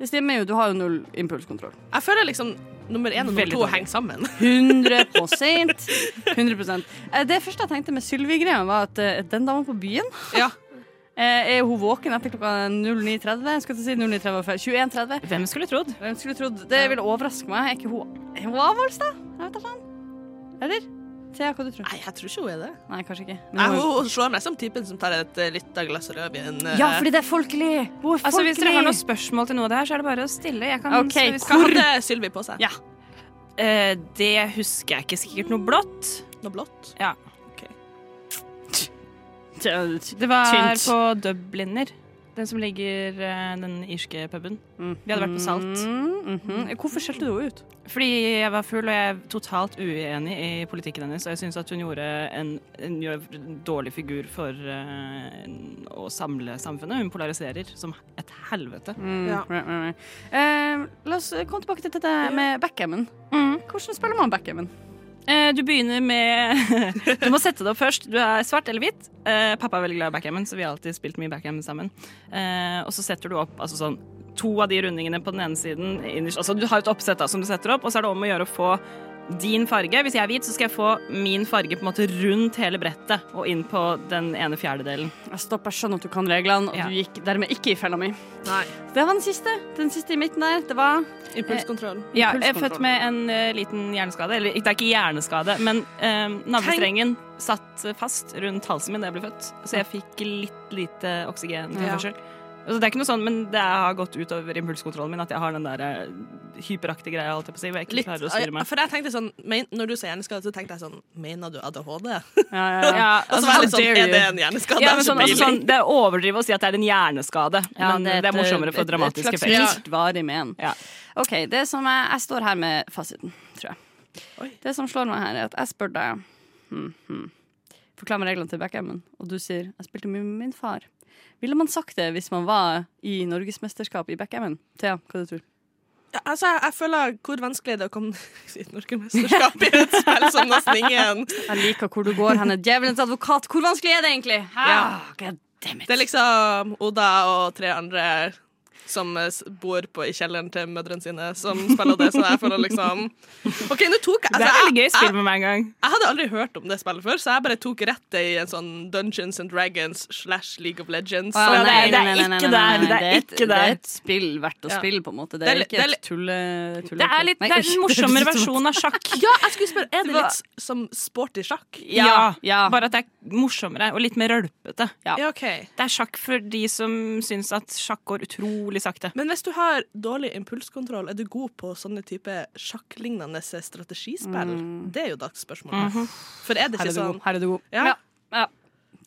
Speaker 3: Det stemmer jo, du har jo null impulskontroll.
Speaker 6: Jeg føler liksom nummer én og nummer
Speaker 4: Veldig
Speaker 6: to
Speaker 4: dårlig.
Speaker 6: henger sammen. *laughs*
Speaker 3: 100 100 Eh, Det første jeg tenkte med Sylvi-greia, var at eh, den dama på byen
Speaker 6: Ja.
Speaker 3: *laughs* eh, Er hun våken etter klokka 09.30? Jeg skulle til å si 09.30 før. 21.30?
Speaker 4: Hvem skulle trodd?
Speaker 3: Hvem skulle trodd? Det ville overraske meg. Er ikke hun Er hun avholdsdag? Jeg vet da faen. Eller? Thea, hva du tror
Speaker 6: Nei, jeg tror ikke hun er det.
Speaker 3: Nei, kanskje ikke. Men
Speaker 6: Nei,
Speaker 3: hun-
Speaker 6: hun slår meg som typen som tar et eh, lite glass rødvin. eh,
Speaker 3: ja, fordi det er folkelig! Hun er folkelig!
Speaker 4: Altså, hvis dere har noen spørsmål til noe av det her, så er det bare å stille. Jeg kan
Speaker 3: Ok,
Speaker 4: så vi
Speaker 6: Hva
Speaker 4: skal-
Speaker 6: hadde Sylvi på seg?
Speaker 3: Ja.
Speaker 4: Eh, Det husker jeg ikke. Sikkert noe blått.
Speaker 6: Noe blått?
Speaker 4: Ja.
Speaker 3: Det
Speaker 4: Det var
Speaker 3: Tynt.
Speaker 4: på Dubliner. Den som ligger eh, den irske puben. Vi hadde vært på Salt.
Speaker 3: Mm, mhm. Hvorfor skjelte du henne ut?
Speaker 4: Fordi jeg var full, og jeg er totalt uenig i politikken hennes. Og jeg syns at hun gjorde en, en gjør- en dårlig figur for eh, å samle samfunnet. Hun polariserer som et helvete.
Speaker 6: Ja.
Speaker 3: Right, right, right. Eh, la oss eh, komme tilbake til dette med backgammon. Hvordan spiller man backgammon?
Speaker 4: Eh, du
Speaker 3: *laughs*
Speaker 4: begynner med Du må sette det opp først. Du er svart eller hvit. Eh, pappa er veldig glad i backgammon, så vi har alltid spilt mye backgammon sammen. Eh, og så setter du opp altså sånn to av de rundingene på den ene siden. innerst- Altså, du har et oppsett da, som du setter opp, og så er det om å gjøre å få din farge. Hvis jeg er hvit, så skal jeg få min farge på en måte rundt hele brettet og inn på den ene fjerdedelen.
Speaker 3: Jeg stopper, skjønner at du kan reglene, og
Speaker 4: Ja.
Speaker 3: du gikk dermed ikke i fella mi.
Speaker 6: Nei.
Speaker 3: Det var den siste. Den siste i midten der. Det var
Speaker 6: Impulskontroll.
Speaker 4: Ja, jeg er
Speaker 3: Impulskontroll.
Speaker 4: født med en eh, liten hjerneskade. Eller det er ikke hjerneskade, men eh, navlestrengen satt fast rundt halsen min da jeg ble født. Så jeg fikk litt lite oksygentilførsel. Altså, det er ikke noe sånn, men det har gått utover impulskontrollen min at jeg har den der eh, hyperaktige greia. Holdt jeg på å si, hvor jeg ikke
Speaker 6: Litt.
Speaker 4: klarer å styre
Speaker 6: Ja,
Speaker 4: meg.
Speaker 6: For jeg tenkte sånn, men, når du sa hjerneskade, så tenkte jeg sånn Mener du ADHD? *laughs*
Speaker 3: ja, ja, ja.
Speaker 4: *laughs* Ja,
Speaker 6: Og så
Speaker 4: altså,
Speaker 6: var jeg
Speaker 4: sånn,
Speaker 6: litt sånn,
Speaker 3: dare
Speaker 6: er
Speaker 3: you.
Speaker 6: det en hjerneskade?
Speaker 4: ja, men sånn, altså, sånn,
Speaker 6: Selvfølgelig.
Speaker 4: det er overdrivet å si at det er en hjerneskade,
Speaker 3: Ja,
Speaker 4: men det er,
Speaker 3: et, eh,
Speaker 4: morsommere
Speaker 3: et-
Speaker 4: for dramatisk
Speaker 3: Et
Speaker 4: effekt.
Speaker 3: slags mildt varig men.
Speaker 4: Ja.
Speaker 3: OK, det som jeg, jeg står her med fasiten, tror jeg.
Speaker 6: Oi.
Speaker 3: Det som slår meg her, er at jeg spør deg hmm, hmm. Forklar meg reglene til backgammon, og du sier jeg spilte mye med min far. Ville man sagt det hvis man var i norgesmesterskap i backgammon? Thea, hva du tror du?
Speaker 6: Ja, altså, jeg, jeg føler hvor vanskelig det er å komme *laughs* i et *laughs* norgesmesterskap i et spill som nesten ingen
Speaker 3: Jeg liker hvor du går hen. Djevelens advokat, hvor vanskelig er det egentlig? Ja. God
Speaker 6: Det er liksom Oda og tre andre som eh, s- bor på, i kjelleren til mødrene sine, som spiller det. Så jeg føler
Speaker 4: *laughs*
Speaker 6: liksom OK, nå tok jeg
Speaker 4: Det er
Speaker 6: altså,
Speaker 4: veldig gøy
Speaker 6: jeg-
Speaker 4: spill med meg en gang.
Speaker 6: Jeg hadde aldri hørt om det spillet før, så jeg bare tok rett det i en sånn Dungeons and Dragons slash League of Legends.
Speaker 3: Å,
Speaker 4: Ja, det
Speaker 6: Så-
Speaker 4: er-
Speaker 3: nei,
Speaker 4: det er
Speaker 3: nei, nei, nei, nei, nei,
Speaker 4: ikke der,
Speaker 3: nei,
Speaker 4: det er
Speaker 3: et-
Speaker 4: ikke
Speaker 3: Det
Speaker 4: der.
Speaker 3: er et spill verdt å
Speaker 6: Ja.
Speaker 3: spille, på en måte. Det
Speaker 6: Det
Speaker 3: er
Speaker 6: er litt-
Speaker 3: ikke
Speaker 6: det er
Speaker 3: et tulle... tulle
Speaker 4: Det er, litt,
Speaker 3: Nei,
Speaker 4: det er en
Speaker 3: unnskyld.
Speaker 4: *laughs* morsommere versjon av sjakk.
Speaker 6: Ja, jeg skulle spørre, er det
Speaker 3: var-
Speaker 6: litt s- som sporty sjakk?
Speaker 3: Ja, ja.
Speaker 4: Bare at det er morsommere og litt mer rølpete.
Speaker 3: Ja.
Speaker 6: Ja, ok.
Speaker 4: Det er sjakk for de som syns at sjakk går utrolig sakte.
Speaker 6: Men hvis du har dårlig impulskontroll, er du god på sånne type sjakklignende strategispill?
Speaker 4: Mm.
Speaker 6: Det er jo dagsspørsmålet.
Speaker 4: Mhm.
Speaker 6: For Mhm. er det
Speaker 3: Her
Speaker 6: ikke
Speaker 3: er du
Speaker 6: sånn
Speaker 3: god. Her er du god.
Speaker 6: Ja.
Speaker 3: Ja. ja.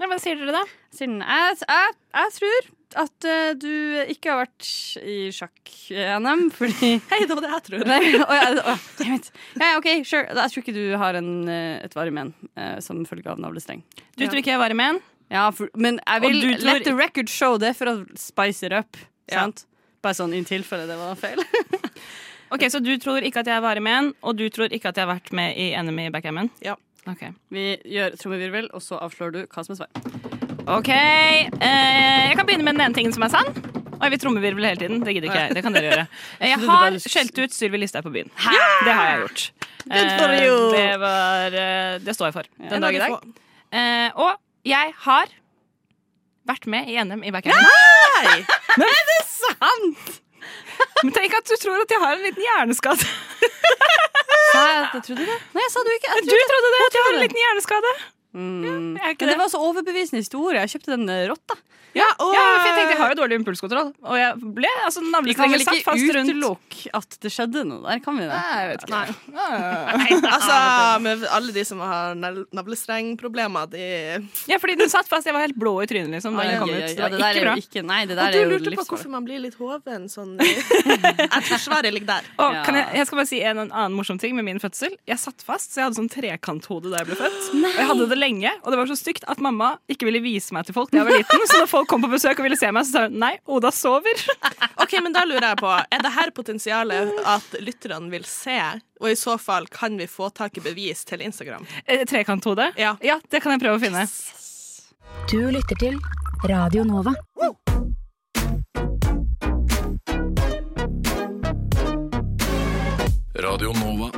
Speaker 4: Ja, hva sier dere, da?
Speaker 3: Siden jeg, jeg, jeg tror at eh, du ikke har vært i sjakk-NM, fordi
Speaker 6: Hei, det var det jeg tror.
Speaker 3: Nei, å, ja, å, damn it. Ja, OK, sure. Jeg tror ikke du har en, eh, et varig men eh, som følge av navlestreng.
Speaker 4: Du tror ikke jeg var i med en?
Speaker 3: Ja, for, men jeg vil
Speaker 4: Og du tror-
Speaker 3: let the record show det for å spice it up.
Speaker 6: Ja.
Speaker 3: Sant? Bare sånn i tilfelle det var feil. *laughs*
Speaker 4: Ok, Så du tror ikke at jeg var i med en, og du tror ikke at jeg har vært med i Enemy Backgammon?
Speaker 6: Ja.
Speaker 4: Ok,
Speaker 3: Vi gjør trommevirvel, og så avslører du hva som er svar.
Speaker 4: Ok, eh, Jeg kan begynne med den ene tingen som er sann. Og jeg vil trommevirvel hele tiden. Det gidder ikke jeg. Det kan dere *laughs* gjøre. Eh, Jeg har skjelt ut Sylvi Listhaug på byen. Det har jeg gjort.
Speaker 3: for
Speaker 4: Eh,
Speaker 3: you.
Speaker 4: Det, var, eh, det står jeg for den dag i dag. Eh, og jeg har vært med i NM i backgammon.
Speaker 6: Nei!
Speaker 4: Men tenk at du tror at jeg har en liten hjerneskade.
Speaker 3: Sa jeg at jeg trodde det? Nei, jeg sa du ikke. Jeg
Speaker 4: Du trodde det, at jeg har en
Speaker 3: det.
Speaker 4: liten hjerneskade.
Speaker 3: Mm.
Speaker 4: Jeg er ikke
Speaker 3: Men det
Speaker 4: det.
Speaker 3: var så overbevisende historie. Jeg kjøpte den eh, rått, da.
Speaker 6: Ja, og
Speaker 4: Ja, for jeg tenkte jeg har jo dårlig impulskontroll. Og jeg ble altså
Speaker 3: Vi kan
Speaker 4: navlestrengen
Speaker 3: vel
Speaker 4: satt
Speaker 3: ikke
Speaker 4: fast rundt.
Speaker 3: utelukke at det skjedde noe der, kan vi det?
Speaker 4: Nei, jeg vet ikke.
Speaker 6: *laughs* Altså, med alle de som har nav- navlestrengproblemer, de
Speaker 4: Ja, fordi den satt fast. Jeg var helt blå i trynet liksom, da
Speaker 3: Oi,
Speaker 4: den
Speaker 3: oi,
Speaker 4: kom ut.
Speaker 3: oi,
Speaker 4: Det
Speaker 3: ja,
Speaker 4: var
Speaker 3: det der
Speaker 4: ikke
Speaker 3: er
Speaker 4: bra.
Speaker 3: jo ikke Nei, det
Speaker 6: Og
Speaker 3: der
Speaker 6: du
Speaker 3: er jo
Speaker 6: lurte på hvorfor
Speaker 3: livsfarlig.
Speaker 6: man blir litt hoven sånn *laughs* Jeg tror svaret ligger der.
Speaker 4: Og
Speaker 3: Ja.
Speaker 4: kan jeg, jeg skal bare si en annen morsom ting med min fødsel. Jeg satt fast, så jeg hadde sånn trekanthode da jeg ble født. Og jeg hadde det lenge, og det var så stygt at mamma ikke ville vise meg til folk da jeg var liten. Så når folk kom på besøk og ville se meg, så sa hun nei, Oda sover. *laughs*
Speaker 6: Ok, men da lurer jeg på Er det her potensialet at lytterne vil se? Og i så fall, kan vi få tak i bevis til Instagram?
Speaker 4: Eh, Trekanthode?
Speaker 6: Ja.
Speaker 4: ja, det kan jeg prøve å finne.
Speaker 7: Du lytter til Radio Nova.
Speaker 5: Radio Nova.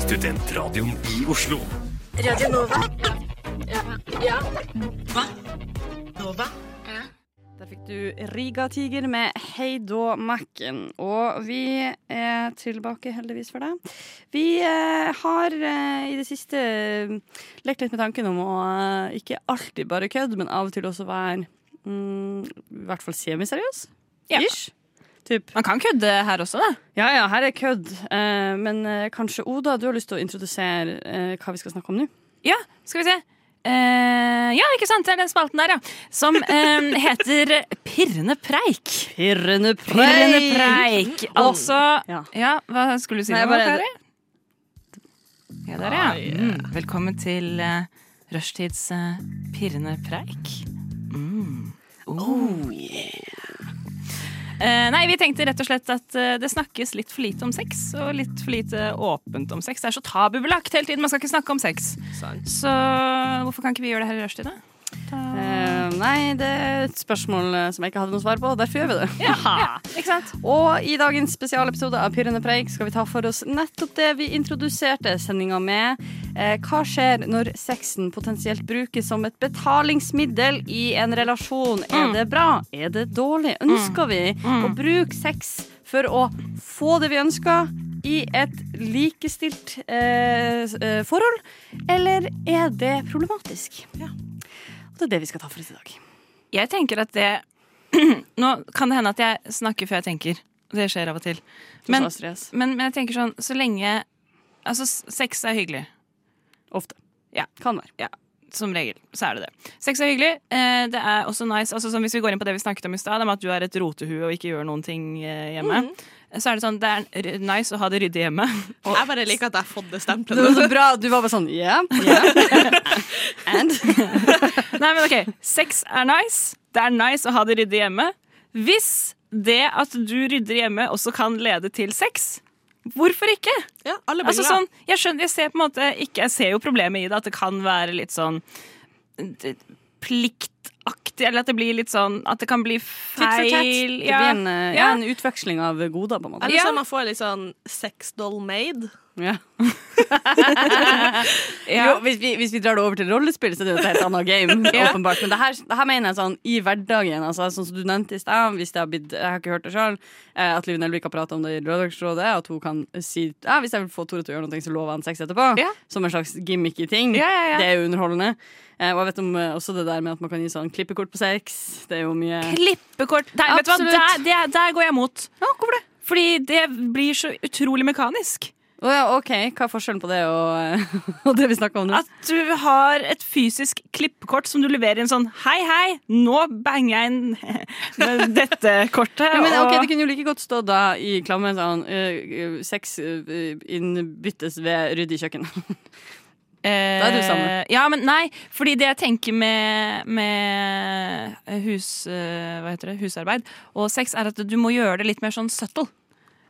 Speaker 5: Studentradioen i Oslo.
Speaker 3: Der fikk du Riga Tiger med Hei då Mac-en. Og vi er tilbake, heldigvis for deg. Vi eh, har eh, i det siste lekt litt med tanken om å eh, ikke alltid bare kødde, men av og til også være mm, i hvert fall semiseriøs.
Speaker 4: Ja.
Speaker 3: Ish. Typ.
Speaker 4: Man kan kødde her også, da.
Speaker 3: Ja ja, her er kødd. Eh, men eh, kanskje Oda, du har lyst til å introdusere eh, hva vi skal snakke om nå?
Speaker 4: Ja, skal vi se. Eh, ja, ikke sant? Det er den spalten der, ja. Som *laughs* eh, heter Pirrende preik.
Speaker 3: Pirrende
Speaker 4: Pirrende preik. Altså
Speaker 3: Ja.
Speaker 4: Ja, hva skulle du si?
Speaker 3: Nei,
Speaker 4: nå,
Speaker 3: bare-
Speaker 4: Kari? Ja, der, ja. Mm. Velkommen til uh, rushtids eh, pirrende preik. Mm. Oh, Eh, nei, vi tenkte rett og slett at eh, det snakkes litt for lite om sex, og litt for lite åpent om sex. Det er så tabubelagt hele tiden, man skal ikke snakke om sex.
Speaker 6: Sånn.
Speaker 4: Så hvorfor kan ikke vi gjøre det her i rushtid, da?
Speaker 3: Eh, nei, det er et spørsmål eh, som jeg ikke hadde noe svar på, og derfor gjør vi det.
Speaker 4: Ikke sant?
Speaker 3: Og i dagens spesialepisode av Pyrrende preik skal vi ta for oss nettopp det vi introduserte sendinga med. Eh, hva skjer når sexen potensielt brukes som et betalingsmiddel i en relasjon?
Speaker 4: Mm.
Speaker 3: Er det bra? Er det dårlig? Ønsker vi å bruke sex for å få det vi ønsker? I et likestilt eh, s- eh, forhold, eller er det problematisk? Og det er det vi skal ta for oss i dag.
Speaker 4: Jeg tenker at det *clears throat* Nå kan det hende at jeg snakker før jeg tenker. Det skjer av og til. Men,
Speaker 3: Hos Astrid S.
Speaker 4: men, men jeg tenker sånn, så lenge Altså, s- sex er hyggelig.
Speaker 3: Ofte.
Speaker 4: Ja.
Speaker 3: Kan være.
Speaker 4: Som regel. Så er det det. Sex er hyggelig. Eh, det er også nice altså, sånn, Hvis vi går inn på det vi snakket om i stad, om at du er et rotehue og ikke gjør noen ting eh, hjemme, så er det sånn Det er r- nice å ha det ryddig hjemme. *laughs*
Speaker 6: Jeg bare liker at jeg har fått det
Speaker 3: Det var
Speaker 6: stempelet.
Speaker 3: så bra. Du var bare sånn yeah, yeah. *laughs* And?
Speaker 4: Nei, men ok, sex er nice. Det er nice å ha det ryddig hjemme. Hvis det at du rydder hjemme også kan lede til sex, hvorfor ikke?
Speaker 6: Ja, alle blir
Speaker 4: Altså
Speaker 6: glad.
Speaker 4: sånn, jeg skjønner, jeg ser på en måte ikke, jeg ser jo problemet i det, at det kan være litt sånn d- pliktaktig, eller at det blir litt sånn At det kan bli feil.
Speaker 3: Det
Speaker 4: ja.
Speaker 3: blir en, eh, ja,
Speaker 4: Ja.
Speaker 3: en utveksling av goder, på en måte.
Speaker 6: Eller
Speaker 4: Ja.
Speaker 6: så man får litt sånn sex doll made.
Speaker 3: Ja.
Speaker 4: Ja.
Speaker 3: Jo, hvis, vi, hvis vi drar det over til rollespill, så er det jo et helt annet game.
Speaker 4: *laughs* Ja.
Speaker 3: åpenbart Men det her, det her mener jeg sånn i hverdagen. Altså, sånn som du nevnte i stad, hvis det har blitt Jeg har ikke hørt det sjøl, at Liv Nelvik har prata om det i Lørdagsrådet, at hun kan si ja, hvis jeg vil få Tore til å gjøre noe, så lover han sex etterpå.
Speaker 4: Ja.
Speaker 3: Som en slags gimmicky ting.
Speaker 4: Ja, ja, ja.
Speaker 3: Det er jo underholdende. Eh, Og jeg vet om eh, også det der med at man kan gi sånn klippekort på sex. Det er jo mye
Speaker 4: Klippekort Nei, vet du hva,
Speaker 3: Absolutt.
Speaker 4: der, det, der går jeg mot. hvorfor det? Fordi det blir så utrolig mekanisk.
Speaker 3: Å ja, OK, hva er forskjellen på det og, *laughs* og det vi snakka om nå?
Speaker 4: At du har et fysisk klippekort som du leverer i en sånn Hei, hei, nå banger jeg inn *laughs* med dette kortet.
Speaker 3: Ja, men, ok,
Speaker 4: og-
Speaker 3: det kunne jo like godt stå da i klammen sånn uh, Sex eh, innbyttes ved ryddig kjøkken. *laughs* Da er det jo samme.
Speaker 4: Eh, Ja, men nei, fordi det jeg tenker med, med hus, eh, hva heter det? husarbeid og sex, er at du må gjøre det litt mer sånn subtle.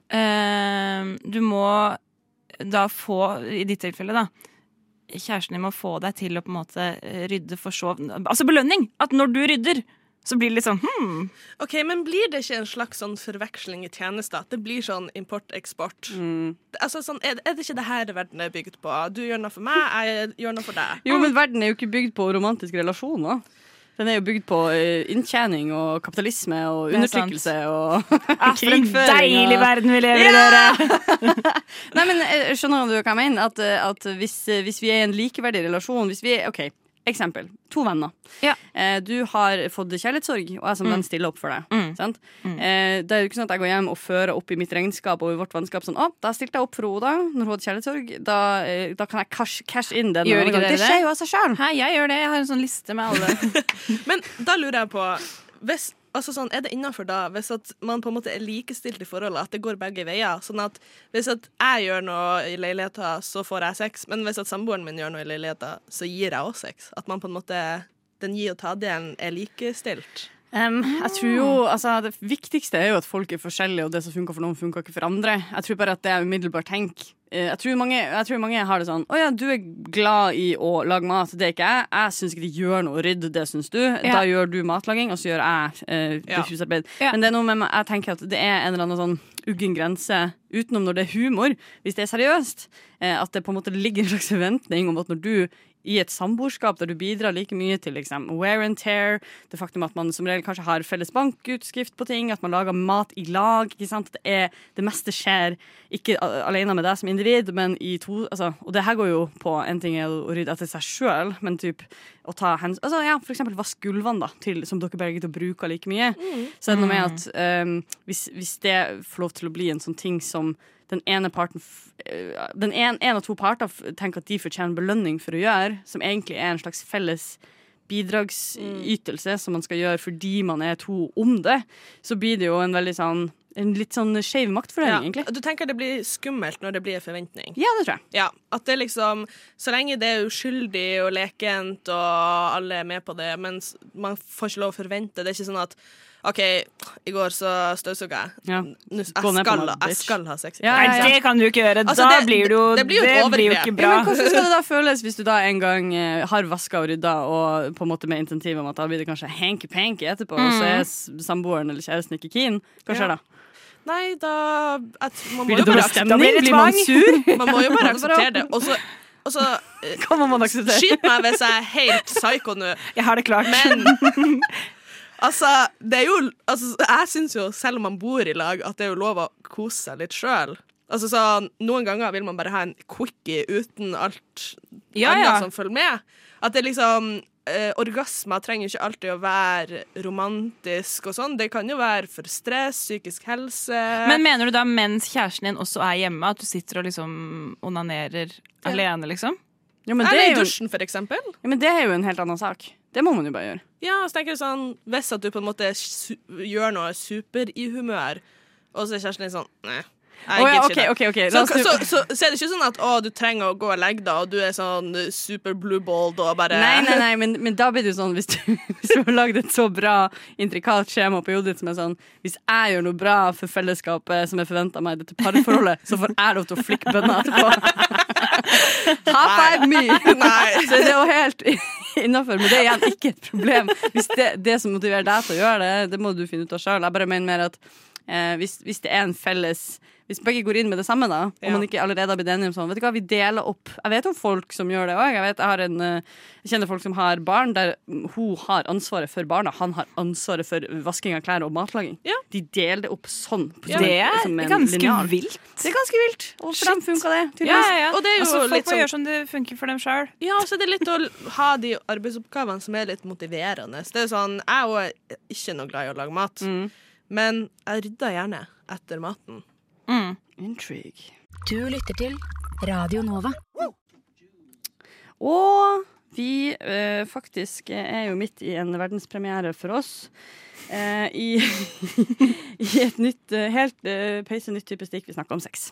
Speaker 4: Eh, du må da få, i ditt tilfelle da, kjæresten din må få deg til å på en måte eh, rydde for så Altså belønning! At når du rydder, så blir det litt sånn hmm,
Speaker 6: Ok, Men blir det ikke en slags sånn forveksling i tjenester? At det blir sånn import-eksport?
Speaker 4: Mm.
Speaker 6: Det- Altså, sånn, er, er det ikke det her verden er bygd på? Du gjør noe for meg, jeg gjør noe for deg.
Speaker 3: Jo, men verden er jo ikke bygd på romantiske relasjoner. Den er jo bygd på eh, inntjening og kapitalisme og
Speaker 4: Det er sant.
Speaker 3: undertrykkelse og
Speaker 4: ah, For en
Speaker 3: krigføring
Speaker 4: deilig
Speaker 3: og-
Speaker 4: verden vi lever i, dere!
Speaker 3: Nei, men eh, skjønner du hva jeg mener? At, eh, at hvis, eh, hvis vi er i en likeverdig relasjon Hvis vi er, ok, eksempel, to venner
Speaker 4: Ja.
Speaker 3: eh, Du har fått kjærlighetssorg Og jeg som venn stiller opp for deg sant? Eh, Det er jo ikke sånn at jeg går hjem og fører opp i mitt regnskap Og i vårt vennskap sånn Å, da stilte jeg opp for Oda når hun hadde kjærlighetssorg Da, eh, da kan jeg cash, cash in den
Speaker 4: Gjør ikke
Speaker 3: overgangen.»
Speaker 4: dere
Speaker 3: Det skjer jo av seg selv
Speaker 4: Hei, jeg gjør det. Jeg har en sånn liste med alle.
Speaker 6: Men da lurer jeg på hvis, altså sånn, Er det innafor da, hvis at man på en måte er likestilt i forholdet, at det går begge veier? Sånn at hvis at jeg gjør noe i leiligheten, så får jeg sex, men hvis at samboeren min gjør noe i leiligheten, så gir jeg også sex? At man på en måte den gi og ta-delen er likestilt?
Speaker 3: Em, jeg tror jo, altså Det viktigste er jo at folk er forskjellige, og det som funker for noen, funker ikke for andre. Jeg tror bare at det er umiddelbart tenk. Eh, Jeg tror, mange, jeg tror mange har det sånn Å ja, du er glad i å lage mat, det er ikke jeg. Jeg syns ikke det gjør noe å rydde, det syns du. Da gjør du matlaging, og så gjør jeg eh,
Speaker 6: Ja.
Speaker 3: husarbeid.
Speaker 4: Ja.
Speaker 3: Men det er noe med meg, jeg tenker at det er en eller annen sånn uggen grense, utenom når det er humor, hvis det er seriøst, eh, at det på en måte ligger en slags forventning om at når du i et samboerskap der du bidrar like mye til liksom, wear and tear, det faktum at man som regel kanskje har felles bankutskrift på ting, at man lager mat i lag. ikke sant? Det, er, det meste skjer ikke a- alene med deg som individ, men i to altså, Og det her går jo på en ting er å rydde etter seg sjøl, men typ å ta hands, altså, ja, for eksempel vask gulvene, da, til, som dere begge to bruker like mye. Så er det noe med at ehm, hvis, hvis det får lov til å bli en sånn ting som den ene parten f- eh, Den en, en av to parter f- tenker at de fortjener belønning for å gjøre, som egentlig er en slags felles bidragsytelse som man skal gjøre fordi man er to om det, så blir det jo en veldig sånn En litt sånn skeiv maktfordeling, egentlig.
Speaker 6: Du tenker det blir skummelt når det blir en forventning?
Speaker 3: Ja, det tror jeg.
Speaker 6: Ja, at det liksom Så lenge det er uskyldig og lekent og alle er med på det, men s- man får ikke lov å forvente. Det er ikke sånn at OK, i går så støvsugde jeg.
Speaker 3: Ja.
Speaker 6: Nå- Jeg,
Speaker 3: Gå ned på
Speaker 6: skal,
Speaker 3: meg,
Speaker 6: jeg
Speaker 3: bitch.
Speaker 6: skal ha sex. i
Speaker 3: Ja,
Speaker 6: kveld.
Speaker 4: Nei, det kan du ikke gjøre.
Speaker 6: Altså,
Speaker 4: da
Speaker 6: det-
Speaker 4: blir det jo
Speaker 6: det blir jo et
Speaker 4: jo
Speaker 6: overgrep.
Speaker 4: ikke
Speaker 3: Ja,
Speaker 4: bra.
Speaker 3: men Hvordan skal det da føles hvis du da en gang eh, har vaska og rydda, og på en måte med intentiv om at da blir det kanskje hanky-panky etterpå, og så er s- samboeren eller kjæresten ikke keen? Hva skjer da?
Speaker 6: Ja. Nei, da at, man, må
Speaker 3: Blir
Speaker 6: jo
Speaker 3: det dårlig
Speaker 6: bare,
Speaker 4: da blir
Speaker 3: stemning?
Speaker 4: det
Speaker 3: Blir man
Speaker 4: tvang.
Speaker 3: sur?
Speaker 6: ak- man må jo bare
Speaker 3: Det er bra.
Speaker 6: akseptere det. Og så- og så eh,
Speaker 3: Hva må man akseptere?
Speaker 6: Skyt meg hvis jeg er helt psycho nå.
Speaker 4: Jeg har det klart.
Speaker 3: *laughs*
Speaker 6: Men altså, det er jo altså, Jeg syns jo, selv om man bor i lag, at det er jo lov å kose seg litt sjøl. Altså, sånn, noen ganger vil man bare ha en quickie uten alt
Speaker 4: Ja,
Speaker 6: annet
Speaker 4: ja.
Speaker 6: som følger med. At det liksom eh, Orgasmer trenger jo ikke alltid å være romantisk og sånn. Det kan jo være for stress, psykisk helse
Speaker 4: Men mener du da mens kjæresten din også er hjemme, at du sitter og liksom onanerer alene, liksom?
Speaker 3: *laughs* Ja, men det
Speaker 6: Eller i
Speaker 3: er jo en
Speaker 6: dusjen, for eksempel.
Speaker 3: Ja, men det er jo en helt annen sak. Det må man jo bare gjøre.
Speaker 6: Ja, og så tenker jeg sånn Hvis at du på en måte su gjør noe super i humør, og så er kjæresten din sånn Nei,
Speaker 3: Å
Speaker 6: jeg
Speaker 3: ja,
Speaker 6: gidder ikke det.
Speaker 3: ok, ok, ok, *laughs* la
Speaker 6: Så,
Speaker 3: oss
Speaker 6: så, så, så er det ikke sånn at å, du trenger å gå og legge deg, og du er sånn super blueballed og bare
Speaker 3: Nei, nei, nei, men, men da blir det jo sånn hvis du, *laughs* hvis du har lagd et så bra, intrikat skjema på hodet ditt som er sånn Hvis jeg gjør noe bra for fellesskapet som er forventa meg i dette parforholdet, så får jeg lov til å flikke bønner etterpå. *laughs* High five me!
Speaker 6: *laughs* Nei.
Speaker 3: Så det er jo helt innafor. Men det er igjen ikke et problem. Hvis det, det som motiverer deg til å gjøre det, det må du finne ut av sjøl. Jeg bare mener mer at eh, hvis, hvis det er en felles hvis begge går inn med det samme, da, og
Speaker 6: Ja.
Speaker 3: man ikke allerede har blitt enige om sånn Vet du hva, vi deler opp. Jeg vet om folk som gjør det òg. Jeg, vet- jeg, har en, eh, jeg kjenner folk som har barn der hun har ansvaret for barna, han har ansvaret for vasking av klær og matlaging.
Speaker 6: Ja.
Speaker 3: De deler det opp sånn. på-
Speaker 4: Det er
Speaker 3: som en
Speaker 8: ganske
Speaker 3: lineal.
Speaker 8: vilt.
Speaker 3: *laughs* Det er ganske vilt. Og for dem funka det,
Speaker 8: Ja,
Speaker 3: tydeligvis.
Speaker 8: ja, ja.
Speaker 6: Og det er jo
Speaker 8: altså, folk
Speaker 6: litt
Speaker 8: må
Speaker 6: sånn-
Speaker 8: gjøre som det funker for dem sjøl.
Speaker 6: Ja, og så er det litt å l- ha de arbeidsoppgavene som er litt motiverende. Det er sånn, Jeg er også ikke noe glad i å lage mat,
Speaker 3: Mm.
Speaker 6: men jeg rydder gjerne etter maten.
Speaker 3: Intrigue.
Speaker 7: Du lytter til Radio Nova.
Speaker 3: Og vi eh, faktisk er jo midt i en verdenspremiere for oss. eh, i, *laughs* I et nytt, eh, helt eh, peise nytt type stikk. Vi snakker om sex.